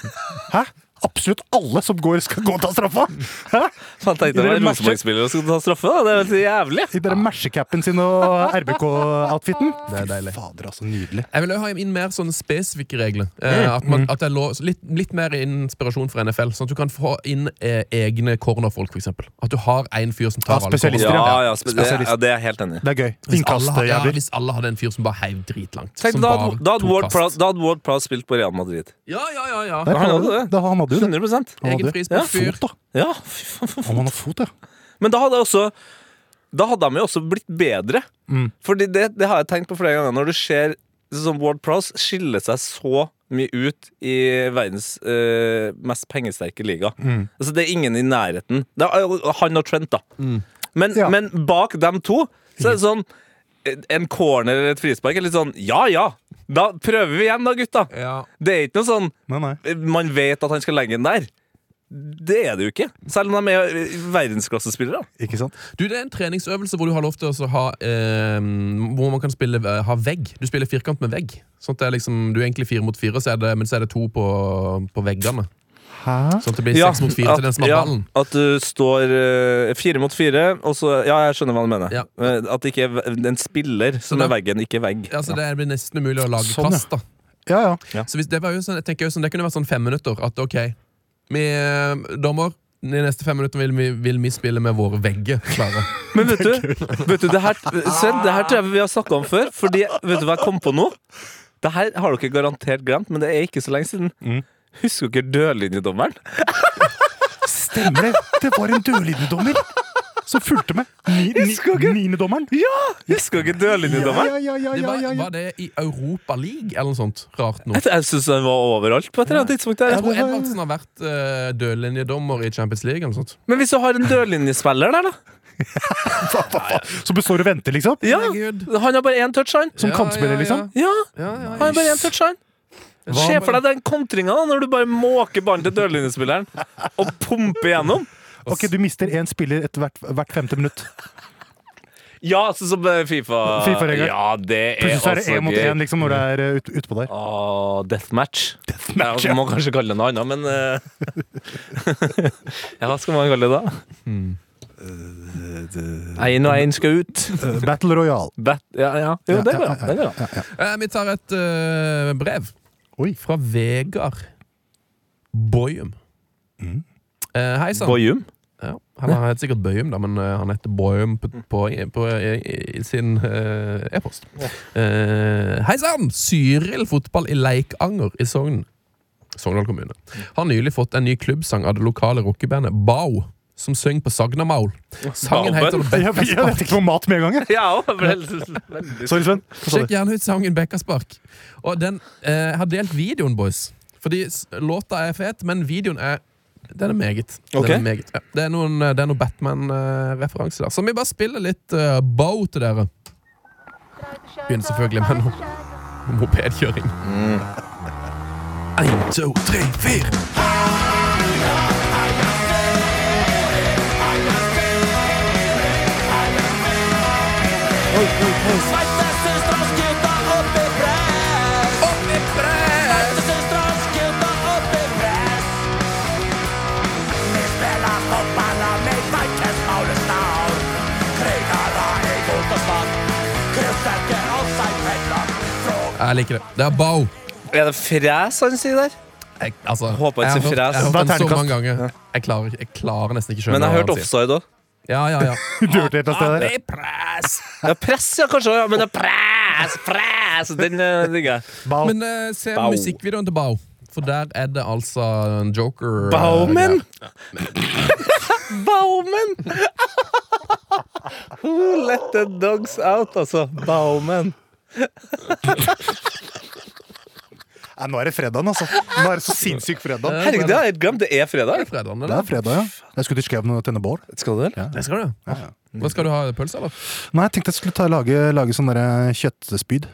Hæ? absolutt alle som går, skal gå og ta straffa! Hæ?
Faen, tenkte jeg
Dere
var en
matcher-
Rosenborg-spiller som skulle ta straffe. da. Det er helt jævlig.
I dere mersecappen sin og RBK-outfiten.
Det er deilig.
Fader, altså. Nydelig.
Jeg vil jo ha inn mer sånne spesifikke regler.
Mm,
Eh, at man, at det er lov, litt, litt mer inspirasjon fra NFL. Sånn at du kan få inn eh, egne cornerfolk, f.eks. At du har én fyr som tar
Ja, spesialister,
alle
Ja,
corner.
ja, spe- det, ja, det er jeg helt enig i.
Det er gøy.
Hvis alle, ha- ja,
Innkastjævler.
hvis alle hadde en fyr som bare heiv dritlangt.
Tenk,
som
da
bare
hadde- da hadde
tok
Ward
kast.
Prowse- da hadde Ward Prowse spilt på Real Madrid.
Ja, ja, ja, ja.
Der
Han
har
hadde
du det.
det.
Da han hadde jo
100
det. Han
Egen
hadde jo-
frisparkfyr.
Fot, da.
Ja, fy faen. for-
Om han har fot, ja.
Men da hadde jeg også Da hadde de jo også blitt bedre. Fordi det, det har jeg tenkt på flere ganger. Når du ser sånn Ward Prowse skiller seg så mye ut i verdens eh, mest pengesterke liga. Altså Det er ingen i nærheten. Det er, eh, han og Trent, da. Men,
Ja.
men bak dem to så er det sånn eh, En corner eller et frispark er litt sånn Ja ja! Da prøver vi igjen, da, gutta!
Ja.
Det er ikke noe sånn
Nei, nei.
man vet at han skal legge den der. Det er det jo ikke. Selv om de er eh, verdensklassespillere.
Ikke sant?
Du, Det er en treningsøvelse hvor du har lov til å så ha eh, Hvor man kan spille eh, ha vegg. Du spiller firkant med vegg. Sånn at det er liksom, Du er egentlig fire mot fire, så er det, men så er det to på, på veggene.
Hæ?
Sånn at det blir seks mot fire til den som har
ja,
ballen.
at du står eh, fire mot fire, og så Ja, jeg skjønner hva du mener.
Ja.
Eh, At det ikke er ve- en spiller som
Sånn,
er veggen, ikke vegg.
Ja, så Det blir nesten umulig å lage
Sånn, ja.
kast. da
Ja, ja.
Så hvis det, var jo sånn, jeg tenker jo sånn, det kunne vært sånn fem minutter. At ok, vi eh, dommer, de neste fem minutter vil vi, vil vi spille med våre vegger klare.
Men vet du, vet du det her, Sven, det her tror jeg vi har snakka om før. Fordi, vet du hva jeg kom på nå? Det her har dere garantert glemt, men det er ikke så lenge siden.
Mm.
Husker dere dørlinjedommeren?
Stemmer det! Det var en dørlinjedommer som fulgte med. Ni- ni- Niendedommeren.
Ja! Husker dere dørlinjedommeren?
ja, ja, ja,
Det
ja,
var,
ja, ja.
var det i Europa League eller noe sånt? Rart nå.
Jeg, jeg syns den var overalt på et eller annet tidspunkt.
Jeg
Der.
tror Edvardsen har vært eh, dødlinjedommer i Champions League. eller noe sånt
Men hvis du har en dørlinjespiller der, da
Fa- fa- fa- Som består og venter, liksom?
ja.
Herregud.
Han har bare én touch, han.
Som
Ja,
kantspiller,
ja, ja.
liksom?
Ja,
Ja, ja,
han har bare én touch, han. Se for deg den kontringa da, når du bare måker ballen til dørlinjespilleren og pumper gjennom.
Ok, du mister én spiller etter hvert, hvert femte minutt.
Ja, sånn som eh, Fifa.
FIFA-regler.
Ja, det er
Plutselig så er det
altså
én mot
gøy.
én liksom, når det er eh, ut, utpå der.
Ah, deathmatch.
Deathmatch,
ja. altså, Man må kanskje kalle det noe annet, men eh, Ja, hva skal man kalle det da? Én og én skal ut.
Eh, Battle Royale.
Bat ja, ja. Jo, det går, ja. Det går, ja.
Eh, vi tar et eh, brev
Oi.
fra Vegard Boyum. Eh, Hei sann.
Boyum.
Ja, han heter sikkert Bøyum, da, men eh, han heter Boyum på, på, på, i, i sin eh, e-post. Eh, Hei sann! Syril fotball i Leikanger i Sogn. Sogndal kommune. Har nylig fått en ny klubbsang av det lokale rockebandet Bao, som synger på Sagnamaul. Sangen heter
Bauben?
Jeg, jeg vet ikke noe mat med en gang. jeg.
Ja, og veldig, veldig.
Sorry, Sven. Hva sa
Sjekk
du?
gjerne ut sangen Bekkaspark. Og den eh, jeg har delt videoen, boys. Fordi s- låta er fet, men videoen er den er meget. Den
Ok.
er meget ja. Det er noen, eh, det er noen Batman-referanse der. Så vi bare spiller litt eh, bow til dere. Begynner selvfølgelig med noe mopedkjøring.
Mm.
Én, to, tre, fire. Jeg liker det. Det er bow.
Er det fres han sier der?
Jeg, altså,
Håper jeg ikke
har hørt-
fres.
jeg har
Hva er
hørt den så
terningkast?
mange ganger. Jeg klarer, ikke- jeg klarer nesten ikke skjønne
Men jeg
hva
har
han
hørt
sier.
offside òg.
Ja, ja, Ah, ja.
Du hørte et eller annet sted der?
Det er press! Ja, press, ja, kanskje. Ja, men det er press, press! Den eh, digger jeg.
Ball.
Men eh, se
Bao.
musikkvideoen til Bao. For der er det altså en joker eh,
Baumen!
der.
Baumen! Who let the dogs out, altså? Baumen.
Nei, nå er det fredagen, altså. Nå er det så sinnssyk fredag.
Herregud, det har jeg helt glemt. Det er fredag.
Fredagen,
Det
eller?
er fredag, ja. Jeg skulle til Skauen og tenne bål.
Skal du vel?
Det skal du. Hva skal du ha? Pølse, eller?
Nei, jeg tenkte jeg skulle ta, lage, lage sånn derre kjøttspyd.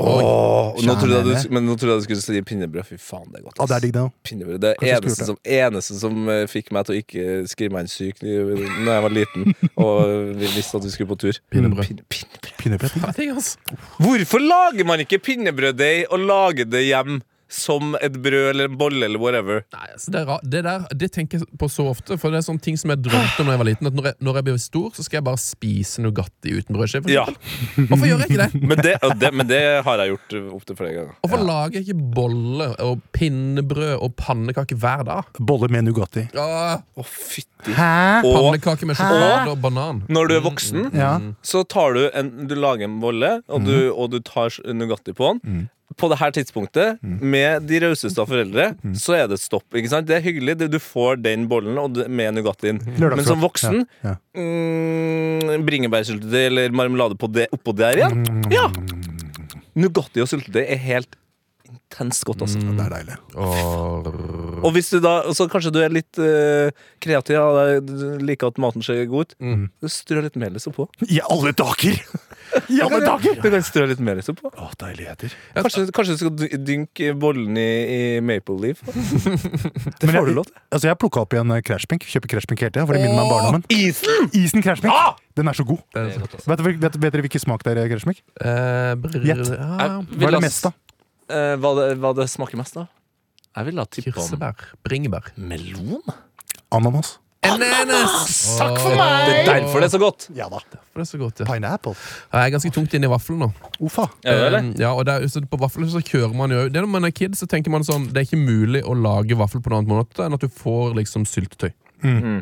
Åh, nå trodde jeg
Kjære.
du, men nå trodde jeg du skulle si pinnebrød. Fy faen, det er godt.
Å, det er digg, det òg.
Pinnebrød. Det
Kanskje jeg skulle
eneste
gjort
som, eneste som eh, fikk meg til å ikke skrive meg inn syk Når jeg var liten og vi visste at vi skulle på tur.
Pinnebrød.
Pinne- pinnebrød.
Ja, digg, ass.
Hvorfor lager man ikke pinnebrøddeig og lager det hjem? som et brød eller en bolle eller whatever.
Nei, altså, det, er ra- det der det tenker jeg på så ofte. For det er sånne ting som jeg drømte om da jeg var liten. At når jeg, når jeg blir stor, så skal jeg bare spise Nugatti uten brødskive. for
Ja,
eksempel. Hvorfor gjør jeg ikke det?
men det, og det, men det har jeg gjort opptil flere ganger.
Hvorfor lager jeg ikke bolle og pinnebrød og pannekake hver dag?
Bolle med Nugatti.
Åh,
Å, fytti.
Hæ?
Og
pannekake med sjokolade og banan.
når du er voksen,
Ja.
så tar du en, du lager en bolle, og du, og du tar Nugatti på den. På det her tidspunktet, med de rauseste av foreldre, så er det et stopp. ikke sant? Det er hyggelig, det- du får den bollen og du- med Nugattien. Men som voksen
Ja.
mm, Bringebærsyltetøy eller marmelade på det, oppå der igjen? Ja! Mm. Nugatti og syltetøy er helt intenst godt, altså.
Det er deilig.
Og hvis du da, og så kanskje du er litt eh, kreativ, ja, du liker at maten ser god ut, så strø litt melis oppå.
I alle dager! I alle dager!
Du kan strø litt melis oppå.
Å, deiligheter.
Kanskje, kanskje du skal dy- dynke bollen i, i maple leaf? Det
Men
får du
jeg,
lov til.
altså jeg plukka opp igjen eh, Crash Pink. Kjøper Crash Pink hele tida. For det minner meg om barndommen.
Isen! Ah!
Isen Crash Pink, den er så god.
Det er sånn.
altså.
Vet, dere- vet, vet dere hvilken smak det er i Crash Pink?
Eh, brr-
Gjett.
ja,
Hva er det mest, da?
Eh, hva, det, hva det smaker mest, da? Jeg ville ha tippa om
Kirsebær. Bringebær.
melon.
Ananas.
Ananas! Takk for
Det er derfor det er så godt.
Ja da.
Det er så godt, ja.
Pineapple.
Jeg er ganske tungt inne i vaffelen nå.
Ufa.
Er det, eller?
Um, ja, og der, så på vaffel så kjører man jo Det er Når man er kid, så tenker man sånn Det er ikke mulig å lage vaffel på noen annen måte enn at du får liksom syltetøy.
Mm.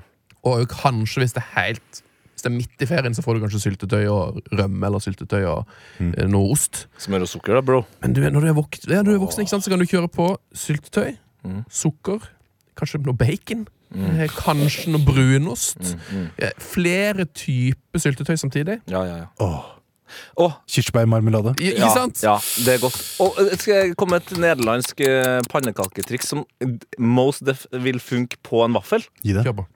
Og kanskje hvis det er helt Hvis det er midt i ferien, så får du kanskje syltetøy og rømme eller syltetøy og
Mm.
eh, noe ost.
Smør og sukker, da, bro.
Men du, er- når du er, vok ja, du er voksen, ikke sant, så kan du kjøre på syltetøy,
Mm.
sukker, kanskje noe bacon. eh, Kanskje noe brunost.
Mm,
Eh, Flere typer syltetøy samtidig.
Ja, ja, ja.
Åh.
Åh.
Kirsebærmarmelade.
I,
Ja,
ikke sant?
ja, det er godt. Og eh, skal jeg komme med et nederlandsk eh, pannekaketriks som most def vil funke på en vaffel?
Gi det.
Kjør på.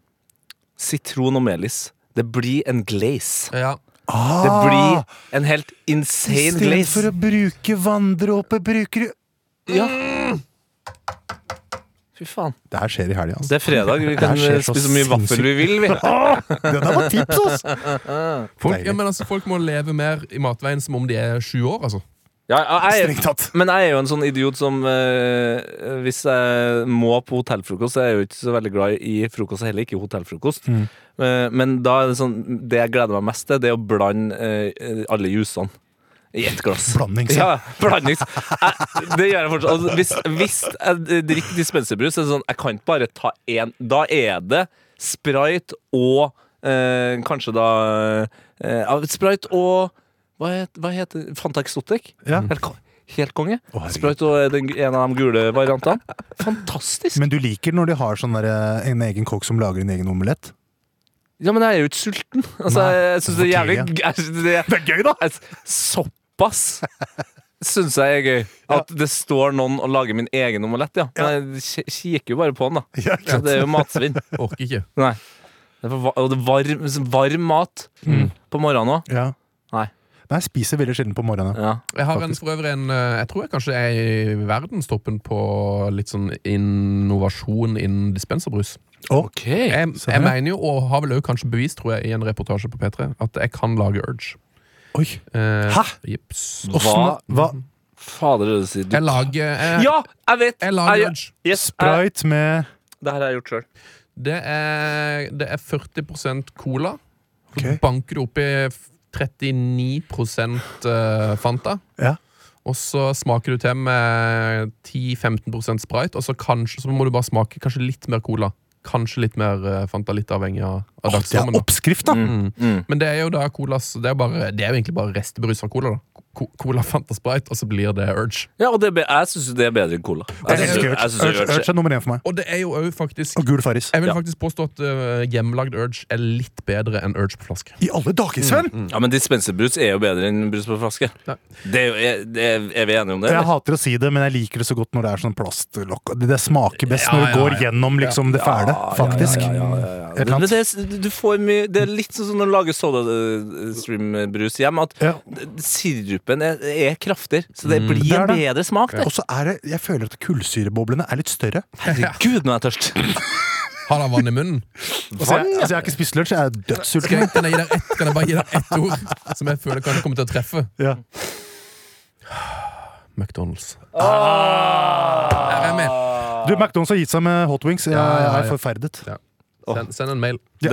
Sitron og melis. Det blir en glaze.
Ja.
Det
Ah.
blir en helt insane glaze.
Istedenfor å bruke vanndråper, bruker du
Ja. Fy faen.
Det her skjer i helga, altså.
Det er fredag. Vi
Det
kan
her skjer
eh,
så Ah,
spise så mye vaffel vi vil. Vi.
Det der var tips, ass!
Folk,
Deilig.
ja, men altså, folk må leve mer i matveien som om de er sju år, altså.
Ja, ja, jeg,
Strengt tatt.
men jeg er jo en sånn idiot som eh, Hvis jeg må på hotellfrokost Jeg er jo ikke så veldig glad i frokost, og heller ikke hotellfrokost. Eh, men da er det sånn Det jeg gleder meg mest til, det er å blande eh, alle jusene i ett glass.
Blandings,
Ja, blandings. Jeg, det gjør jeg fortsatt. Altså, hvis, hvis jeg drikker dispenserbrus, så er det sånn Jeg kan ikke bare ta én. Da er det sprite og eh, kanskje da eh, ja, Sprite og Hva, het, hva heter Fanta Exotic?
Ja.
Helt, ko- helt konge.
herregud.
sprite og den, en av de gule variantene. Fantastisk!
Men du liker når de har sånn der, eh, en egen kokk som lager en egen omelett?
Ja, men jeg er jo ikke sulten. Altså,
Nei,
jeg syns det er jævlig
for tidlig,
jeg synes det, det er gøy, da! Såpass syns jeg er gøy. At det står noen og lager min egen omelett, ja. Men jeg k- kikker jo bare på den, da.
Ja, ikke
Så det er jo matsvinn.
Orker ikke.
Nei. Det er for va- og det er varm, varm mat på morgenen òg.
Ja.
Nei.
Nei, jeg spiser veldig sjelden på morgenen.
Ja.
Jeg har en, for øvrig en eh, Jeg tror jeg kanskje er i verdenstoppen på litt sånn innovasjon innen dispenserbrus.
Eh,
Ok.
Jeg,
se her,
jeg
ja.
mener jo, og har vel også kanskje bevist, tror jeg, i en reportasje på P3, at jeg kan lage Urge.
Oi.
Eh,
Hæ?
Jips.
Åssen Hva?
Fader, det du sier. Du-
Jeg lager jeg,
Ja, jeg vet!
jeg lager
Jeg,
Urge.
yes, eh, jeg,
Sprite med
det her har jeg gjort sjøl.
Det er, det er 40 cola. Så
Ok.
Mm.
banker du oppi 39 eh, Fanta.
Ja.
Og så smaker du til med 10-15 Sprite, og så, kanskje, så må du bare smake kanskje litt mer cola. Kanskje litt mer eh, Fanta, litt avhengig av, av
Det er
dagsformen. da.
oppskrift, da!
Mm.
Men det er jo da colas Det er, bare, det er jo egentlig bare restebrus fra cola. da Co- Cola, Fanta, Sprite, og så blir det Urge.
Ja, og det er, be- jeg syns det er bedre enn cola. synes-
Jeg elsker
jeg
Urge.
synes
Urge. Urge er nummer én for meg.
Og det er jo òg faktisk
Og gul farris.
Jeg vil
Ja.
faktisk påstå at eh, hjemmelagd Urge er litt bedre enn Urge på flaske.
I alle dager, Sven!
Ja, men dispenserbrus er jo bedre enn brus på flaske.
Nei.
Det er, jo, er, det er, er vi enige om det?
Jeg
eller?
hater å si det, men jeg liker det så godt når det er sånn plastlokk. Det det smaker best når
Ja,
det
ja,
går gjennom liksom det fæle, faktisk.
Ja, ja, ja, ja, ja.
Et eller
Men
annet.
det, er, du får mye, det er litt sånn som når du lager SodaStream-brus hjem, at
Ja.
sirupen er, er kraftigere, så det blir
Det
en
er det.
bedre smak. Det.
Og så er det Jeg føler at kullsyreboblene er litt større.
Gud, nå er jeg tørst!
Har da vann i munnen.
Altså, jeg, altså, jeg har ikke spist lunsj, jeg er
Skal
dødssulten.
jeg, kan, jeg gi deg ett, kan jeg bare gi deg ett ord som jeg føler kan komme til å treffe?
Ja.
McDonald's. Der er jeg med.
Du, McDonald's har gitt seg med hot wings. Jeg,
Ja, ja, ja.
er forferdet.
Send, send en mail.
Det,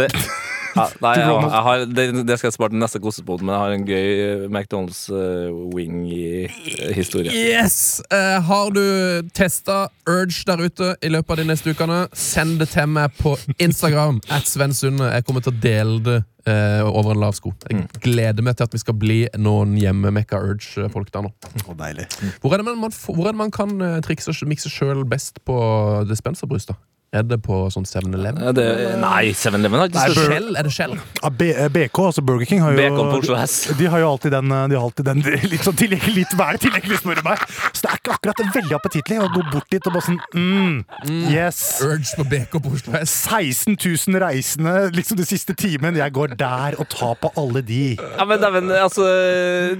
ja, nei,
Til
jeg,
Ronald.
jeg har, det, det skal jeg spare til neste kosepod, men jeg har en gøy eh, McDonald's-wing-historie.
Yes! Eh, har du testa Urge der ute i løpet av de neste ukene, send det til meg på Instagram. At Sven Sunde. Jeg kommer til å dele det eh, over en lav sko. Jeg
Mm.
gleder meg til at vi skal bli noen hjemmemekka Urge-folk der nå.
Å, deilig. Mm.
Hvor er det man, man, får- hvor er det man kan eh, trikse og mikse sjøl best på dispenserbrus? da? Er det på sånn 7-Eleven?
Eh,
Ja, det, nei, 7-Eleven har ikke
Nei,
størst
Bur-
Skjell? Er det skjell?
Ja, B BK, altså Burger King, har jo
Bacon på Oslo S.
De har jo alltid den, eh, de har alltid den litt sånn tilgjengelig, litt vær tilgjengelig, spør du meg. Så det er ikke akkurat veldig appetittlig å gå bort dit og bare sånn mm, Yes.
Urge på BK på Oslo S?
16 000 reisende liksom den siste timen. Jeg går der og tar på alle de.
Ja, men dæven, altså,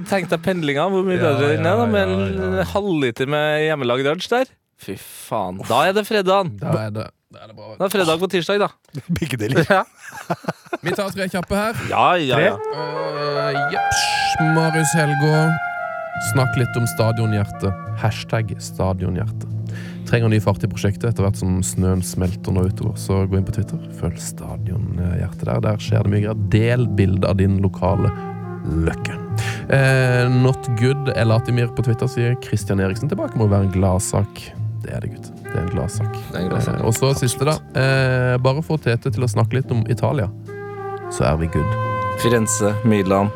tenk deg pendlinga. Hvor mye
Ja,
bedre den er da,
ja, ja,
med
ja.
en halvliter med hjemmelagd lunsj der. Fy faen. Da er det fredag.
Da er det, da er det bra.
Da er det fredag på tirsdag, da.
Begge deler.
Ja,
Vi tar tre kjappe her.
ja, ja. ja.
Eh, Jeps. Marius Helgå. Snakk litt om stadionhjerte. Hashtag stadionhjerte. Trenger ny fart i prosjektet etter hvert som snøen smelter nå utover. Så gå inn på Twitter. Følg stadionhjerte der. Der skjer det mye greier. Del bilde av din lokale løkke. Eh, not good Elatimir på Twitter sier Christian Eriksen tilbake må være en gladsak. Det er det, gutt. Det er en gladsak.
er en gladsak.
Eh, og så siste, da. Eh, bare få Tete til å snakke litt om Italia, så er vi good.
Firenze, Milan,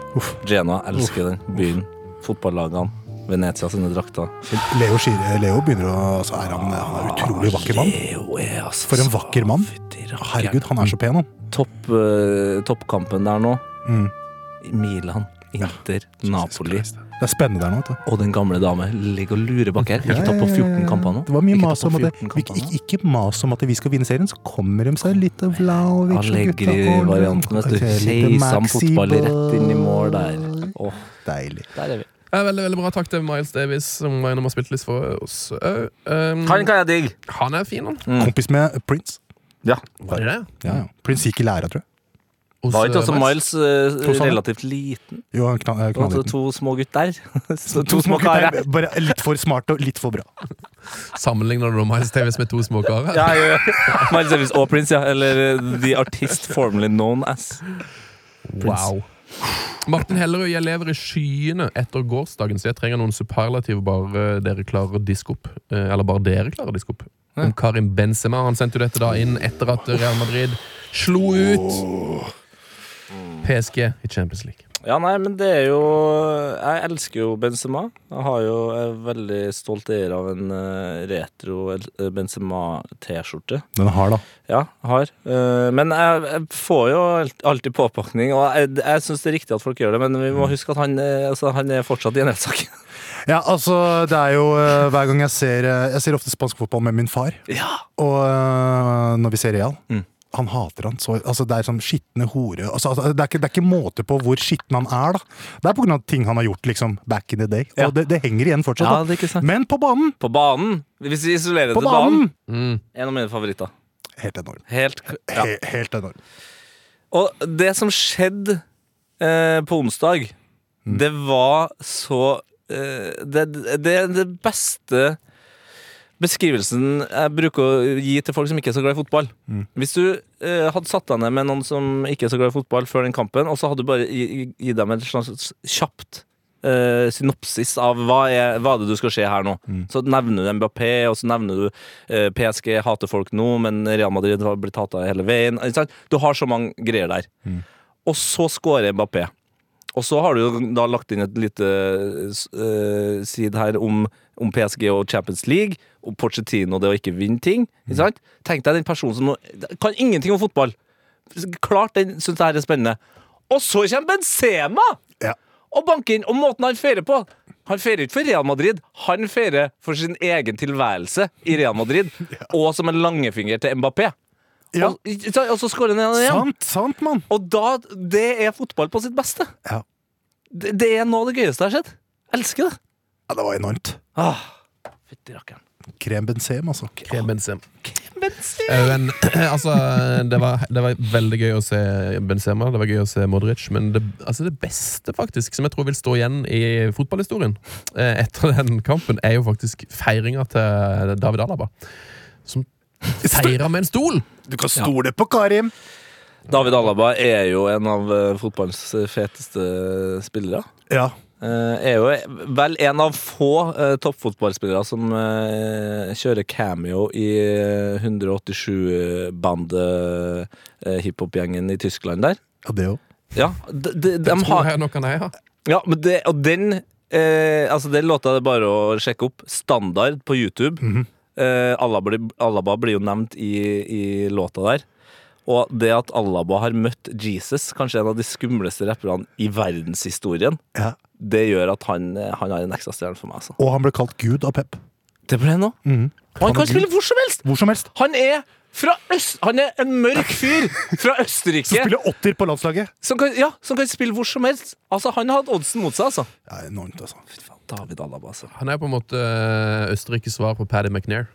Genoa. Elsker den byen. Fotballagene. Venezia sine drakter.
Leo, Schier- Leo begynner å altså, er han, han er en utrolig vakker mann.
Jo, er altså
For en vakker mann.
Fytti rakkeren.
Herregud, han er så pen, han.
Topp, eh, toppkampen der nå.
Mm.
Milan, Inter, Napoli
Det er spennende der nå. vet du.
og den gamle dame ligger og lurer bak her. Ikke topp på 14 kamper nå.
Det var mye
Ikke
mas
topp
om
på
at det,
14
ikke,
kamper nå.
ikke, ikke mas om at vi skal vinne serien, så kommer de seg litt av Vlaovic og gutta går
Allegri-varianten, vet
rundt.
du.
Litt
Keisam
Maxi
fotball rett inn i mål der.
Ball.
Åh,
Deilig.
der er
Ja,
vi.
Eh, veldig veldig bra. Takk til Miles Davies, som var innom og spilte litt for oss òg. Um,
Han kan jeg digge!
han er fin, han.
Mm.
Kompis med Prince.
Ja.
Mm. Var det det?
Ja,
Mm.
ja. Prince gikk i læra, tror jeg.
Hos,
Var ikke
eh,
også Miles eh,
Tror sånn.
relativt liten?
Jo, han kna- eh,
Det var
knallheten.
To små gutter. Så
To
to små karer.
gutter, Bare litt for smart og litt for bra.
Sammenligner du da Miles Davies med to små karer?
Ja, ja, ja. Miles Davis og Prince, ja. Eller eh, The Artist Formerly Known As.
wow. Martin Hellerud, jeg lever i skyene etter gårsdagen, så jeg trenger noen superlativ bare dere klarer å diske opp. Eh, Eller bare dere klarer å diske opp. Om Karim Benzema. Han sendte jo dette da inn etter at Real Madrid slo ut PSG i Champions League.
Ja, nei, men det er jo Jeg elsker jo Benzema. Jeg har jo jeg er veldig stolt eier av en eh, retro eh, Benzema-T-skjorte.
Den har da.
Ja, jeg har. Eh, men jeg, jeg får jo alt- alltid påpakning, og jeg, jeg syns det er riktig at folk gjør det, men vi
Mm.
må huske at han, eh, altså, han er fortsatt i en rettssak.
Ja, altså, det er jo eh, hver gang jeg ser eh, Jeg ser ofte spansk fotball med min far. Og eh, når vi ser Real
Mm.
Han hater han så altså, Det er sånn skitne hore altså, altså, det, er ikke, det er ikke måte på hvor skitten han er, da. Det er på grunn av ting han har gjort liksom, back in the day. Og
Ja.
det, det henger igjen fortsatt.
Ja, det er ikke
da.
sant.
Men på banen!
På banen! Hvis vi isolerer det
På
til banen.
banen!
En av mine favoritter.
Helt enorm.
Helt k- ja.
He, helt enorm.
Og det som skjedde eh, på onsdag, det var så eh, det, det er den beste beskrivelsen jeg bruker å gi til folk som ikke er så glad i fotball. Hvis du eh, hadde satt deg ned med noen som ikke er så glad i fotball før den kampen, og så hadde du bare gi, gi- gi dem et slags kjapt eh, synopsis av hva er, hva er det du skal se her nå. Så nevner du Mbappé, og så nevner du eh, PSG hater folk nå, men Real Madrid har blitt hata hele veien. Ikke sant? Du har så mange greier der. Og så scorer Mbappé. Og så har du jo da lagt inn et lite eh, side her om, om PSG og Champions League, og Pochettino og det å ikke vinne ting. Ikke sant? Tenk deg den personen som nå- kan ingenting om fotball. Klart den syns det her er spennende. Og så kommer Benzema!
Ja.
Og banker inn, og måten han feirer på Han feirer ikke for Real Madrid, han feirer for sin egen tilværelse i Real Madrid. Og som en langfinger til Mbappé.
Ja.
Og, og så skårer han igjen.
Sant, sant, mann!
Og da, det er fotball på sitt beste.
Ja.
Det, det er noe av det gøyeste jeg har sett. Elsker det.
ja, det var enormt.
Ah, Fytti rakkeren.
Krem bensem, altså.
Krem Benzema. Øen, altså, det var, det var veldig gøy å se Benzema, det var gøy å se Modric, men det, altså det beste faktisk, som jeg tror vil stå igjen i fotballhistorien eh, etter den kampen, er jo faktisk feiringa til David Alaba. Som feira med en stol!
Du kan stole på Karim!
David Alaba er jo en av eh, fotballens feteste spillere.
Ja.
Eh, er jo vel en av få eh, toppfotballspillere som eh, kjører cameo i eh, 187-band-hiphop-gjengen eh, i Tyskland der.
ja det òg.
Ja, de, de, de
Det tror
har,
jeg nok han er, ja.
ja men det, og den eh, Altså, den låta er det bare å sjekke opp. Standard på YouTube.
Mhm.
eh, Alaba, blir- Alaba blir jo nevnt i, i låta der. Og det at Alaba har møtt Jesus, kanskje en av de skumleste rapperne i verdenshistorien,
Ja.
det gjør at han, eh, han har en ekstra stjerne for meg. Altså.
Og han ble kalt Gud av Pep.
Det ble han nå. Og han kan spille hvor som helst!
Hvor som helst.
Han er fra øst, han er en mørk fyr fra
Som
Østerrike
spiller åtter på landslaget.
som kan, ja, som kan spille hvor som helst. Altså, Han har hatt oddsen mot seg, altså.
Ja, enormt, altså.
Fy faen, David Alaba, altså.
Han er jo på en måte eh, Østerrikes svar på Paddy McNair.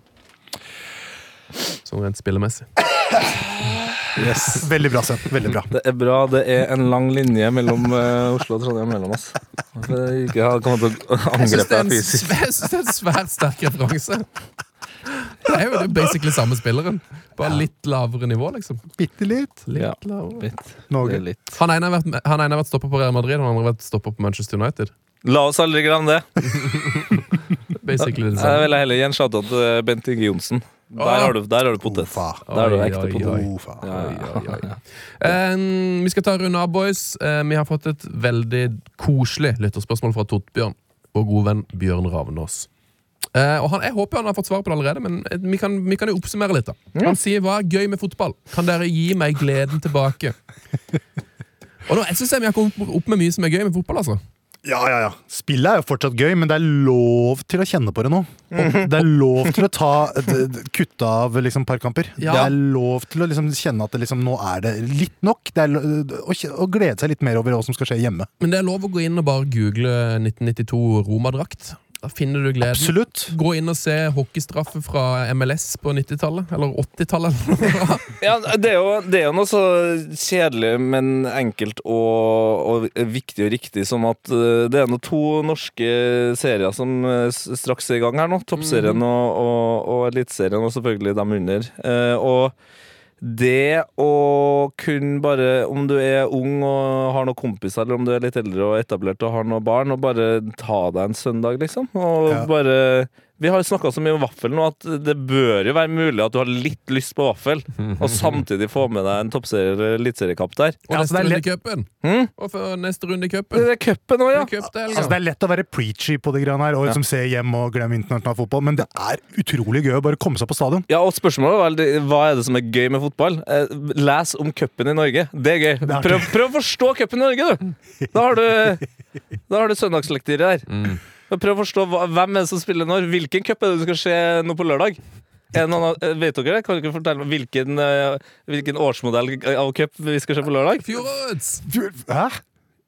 Sånn rent spillemessig.
Veldig bra, Sven. Veldig bra.
Det er bra det er en lang linje mellom eh, Oslo og Trondheim mellom oss. At jeg ikke har kommet til å
Jeg syns det,
angripe
er
deg
en
fysisk.
svæ- jeg synes det er en svært sterk referanse. Det er jo det er basically samme spilleren, bare litt lavere nivå, liksom.
Bitte litt.
Litt
Ja.
lavere.
Litt. Det
Norge.
er litt.
Han ene har vært, han ene har vært stopper på Real Madrid, han andre har vært stopper på Manchester United.
La oss aldri glemme det.
Basically det
Jeg
samme.
vil heller gi en shout-out til Bent Inge Johnsen. Der har du, der har du potet.
Ufa.
Der har du
Oi,
ekte
oi,
potet.
oi.
Ufa.
Ja, ja,
Oi, oi,
ja.
Eh, vi skal ta runde av, boys. Eh, vi har fått et veldig koselig lytterspørsmål fra Tottbjørn, vår gode venn Bjørn Ravnås. Eh, og han, jeg håper han har fått svar på det allerede, men eh, vi kan, vi kan jo oppsummere litt. da Han sier 'Hva er gøy med fotball? Kan dere gi meg gleden tilbake?' Og nå, Jeg synes jeg vi har kommet opp- opp med mye som er gøy med fotball. altså
Ja, ja, ja. Spillet er jo fortsatt gøy, men det er lov til å kjenne på det nå. Og det er lov til å ta d- d- kutte av liksom par kamper.
Ja.
Det er lov til å liksom kjenne at det liksom, nå er det litt nok. Det er lo å, kje- å glede seg litt mer over hva som skal skje hjemme.
Men det er lov å gå inn og bare google 1992 Roma-drakt. Da finner du gleden.
Absolutt.
Gå inn og se hockeystraffe fra MLS på 90-tallet, eller 80-tallet. eller noe.
Ja, det, er jo, det er jo noe så kjedelig, men enkelt og, og viktig og riktig som at eh, det er nå to norske serier som eh, s- straks er i gang her nå. Toppserien og, og, og Eliteserien, og selvfølgelig dem under. Eh, og det å kun bare, om du er ung og har noen kompiser, eller om du er litt eldre og etablert og har noen barn, og bare ta deg en søndag, liksom. Og
Ja.
bare Vi har snakka så mye om vaffel nå at det bør jo være mulig at du har litt lyst på vaffel, og samtidig få med deg en toppserie- eller eliteseriekamp der.
Og
Ja,
neste
altså, det er
runde i
lett-
cupen.
Mm?
Og for neste runde i
Det
cupen.
er cupen òg, ja.
Det er cup til helga.
Altså, det er lett å være preachy på de greiene her, og liksom se hjem og glemme internasjonal fotball, men det er utrolig gøy å bare komme seg på stadion.
Ja, og spørsmålet var veldig, Hva er det som er gøy med fotball? Eh, Les om cupen i Norge. Det er gøy.
artig.
Prøv, prøv å forstå cupen i Norge, du! Da har du, da har du søndagslektyre der. Men Prøv å forstå hva, hvem er det som spiller når. Hvilken cup er det du skal se nå på lørdag? Er det noen av, eh, vet dere det? Kan dere fortelle meg hvilken, eh, hvilken årsmodell av cup vi skal se på lørdag?
Fjorårets!
Hæ?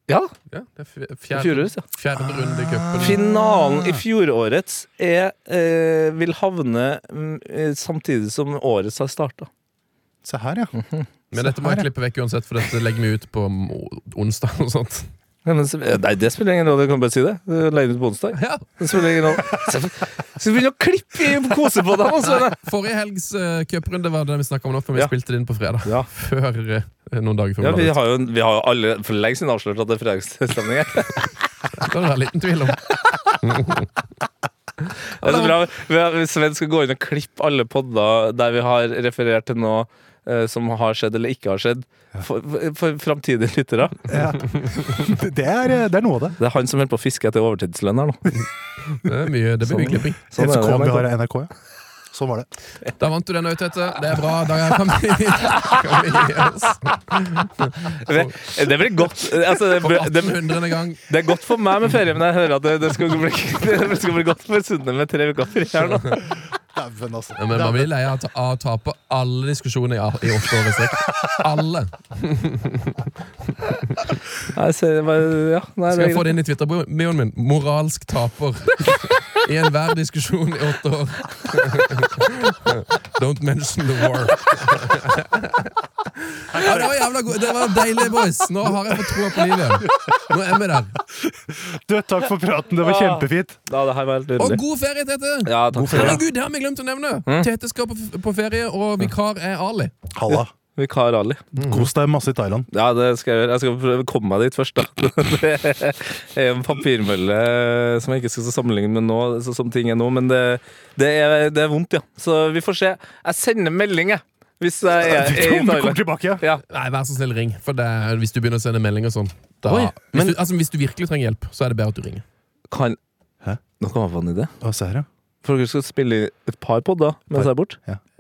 Ja,
Ja, det er fj- fjerde,
Fjorårets, ja.
fjerde runde i cupen.
Finalen i fjorårets er, eh, vil havne mm, eh, samtidig som årets har starta.
Se her, ja.
Men dette må jeg klippe vekk uansett, for dette legger vi ut på mo- onsdag. og sånt
Ja, men, så- eh, nei, det spiller ingen rolle. Jeg kan bare si det. Legg det ut på onsdag.
ja.
Det spiller ingen rolle. Skal vi begynne å klippe i kose på deg? Altså.
Forrige helgs eh, cuprunde var det vi snakka om nå, for vi
Ja.
spilte det inn på fredag.
Ja.
Før eh, noen dager før
Ja, vi
vi la det ut.
har jo, vi har jo alle for lenge siden avslørt at det er fredagsstemning her.
Det kan det være liten tvil om.
Det er så bra. Vi har- Sven skal gå inn og klippe alle podder der vi har referert til noe eh, som har skjedd eller ikke har skjedd, for, for framtidige lyttere.
ja. Det, er, det er noe av det.
Det er han som holder på å fiske etter overtidslønn her nå.
Det, er mye, det blir mye klipping.
Sånn er det,
SK vi
NRK.
har av NRK, ja. Sånn var det.
Da vant du den ut, Tete. Det er bra. Da kan vi, kan vi gi oss.
Det, det blir godt. Altså, det,
For
blir- det,
1800. gang.
Det er godt for meg med ferie, men jeg hører at det, det, skal, bli, det skal bli godt for Sunne med tre uker fri her nå.
Dæven, altså.
Ja, men man blir lei av å ta- av å tape alle diskusjoner i, i åtte år i strekk. Alle.
Nei, se, hva- ja, nei,
Skal jeg få
det,
det inn i Twitter-bioen min? Moralsk taper i enhver diskusjon i åtte år. Don't mention the war. Ja, det var jævla god. Det var deilig, boys. Nå har jeg fått troa på livet igjen. Nå er vi der.
Du, takk for praten. Det var kjempefint.
Ja, det her var helt
Og
nydelig.
god ferie, Mm. Tete!
Ja, takk skal du ha.
Herregud, det har vi glemt å nevne! Tete skal på, f- på ferie, og vikar er Ali.
Halla.
Vikar Ali.
Mm. Kos deg masse i Thailand.
Ja, det skal jeg gjøre. Jeg skal prøve å komme meg dit først, da. Det er en papirmølle som jeg ikke skal sammenligne med nå, så som ting er nå, men det, det, er, det er vondt, ja. Så vi får se. Jeg sender melding, jeg, hvis jeg er, er i
Om du kommer
Thailand.
tilbake, ja.
Ja.
Nei, vær så snill, ring. For det, er- hvis du begynner å sende meldinger og sånn da,
Oi, men-
hvis, du, altså, hvis du virkelig trenger hjelp, så er det bedre at du ringer.
Kan
Hæ?
Nå kom jeg på en idé.
Å, se her, ja.
For dere skal spille i et par podder mens jeg er borte.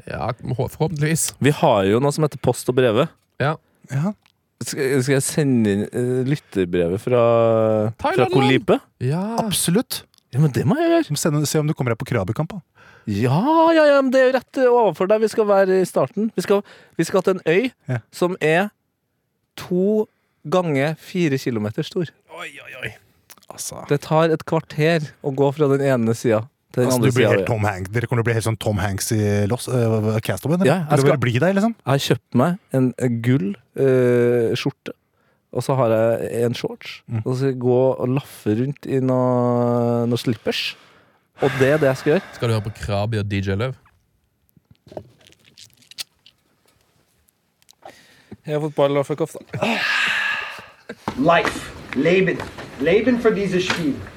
Ja, hå- forhåpentligvis.
Vi har jo noe som heter Post og brevet.
Ja.
Ja.
Skal, skal jeg sende inn eh, lytterbrevet fra, fra
Thailand.
Kolipe?
Ja.
Absolutt.
Ja, men det må jeg gjøre.
Send- Se om du kommer deg på krabekamp. da.
Ja, ja, ja, men det er jo rett eh, overfor der vi skal være i starten. Vi skal, vi skal til en øy
Ja.
som er to ganger fire kilometer stor.
Altså,
Det tar et kvarter å gå fra den ene sida til den
altså,
andre
du blir
sida.
helt Tom Hanks. Dere kommer til å bli helt sånn Tom Hanks i Lost, uh, Castaway. eller?
Ja, jeg
Eller
skal-
bli deg, liksom.
Jeg har kjøpt meg en gull eh, skjorte, og så har jeg en shorts. Og så skal jeg gå og laffe rundt i noe, noe slippers. Og det er det jeg skal gjøre.
Skal du høre på Krabi og DJ Løv?
Jeg har fått ball og fuck off, da.
Life. Leben. Leben für dieses Spiel.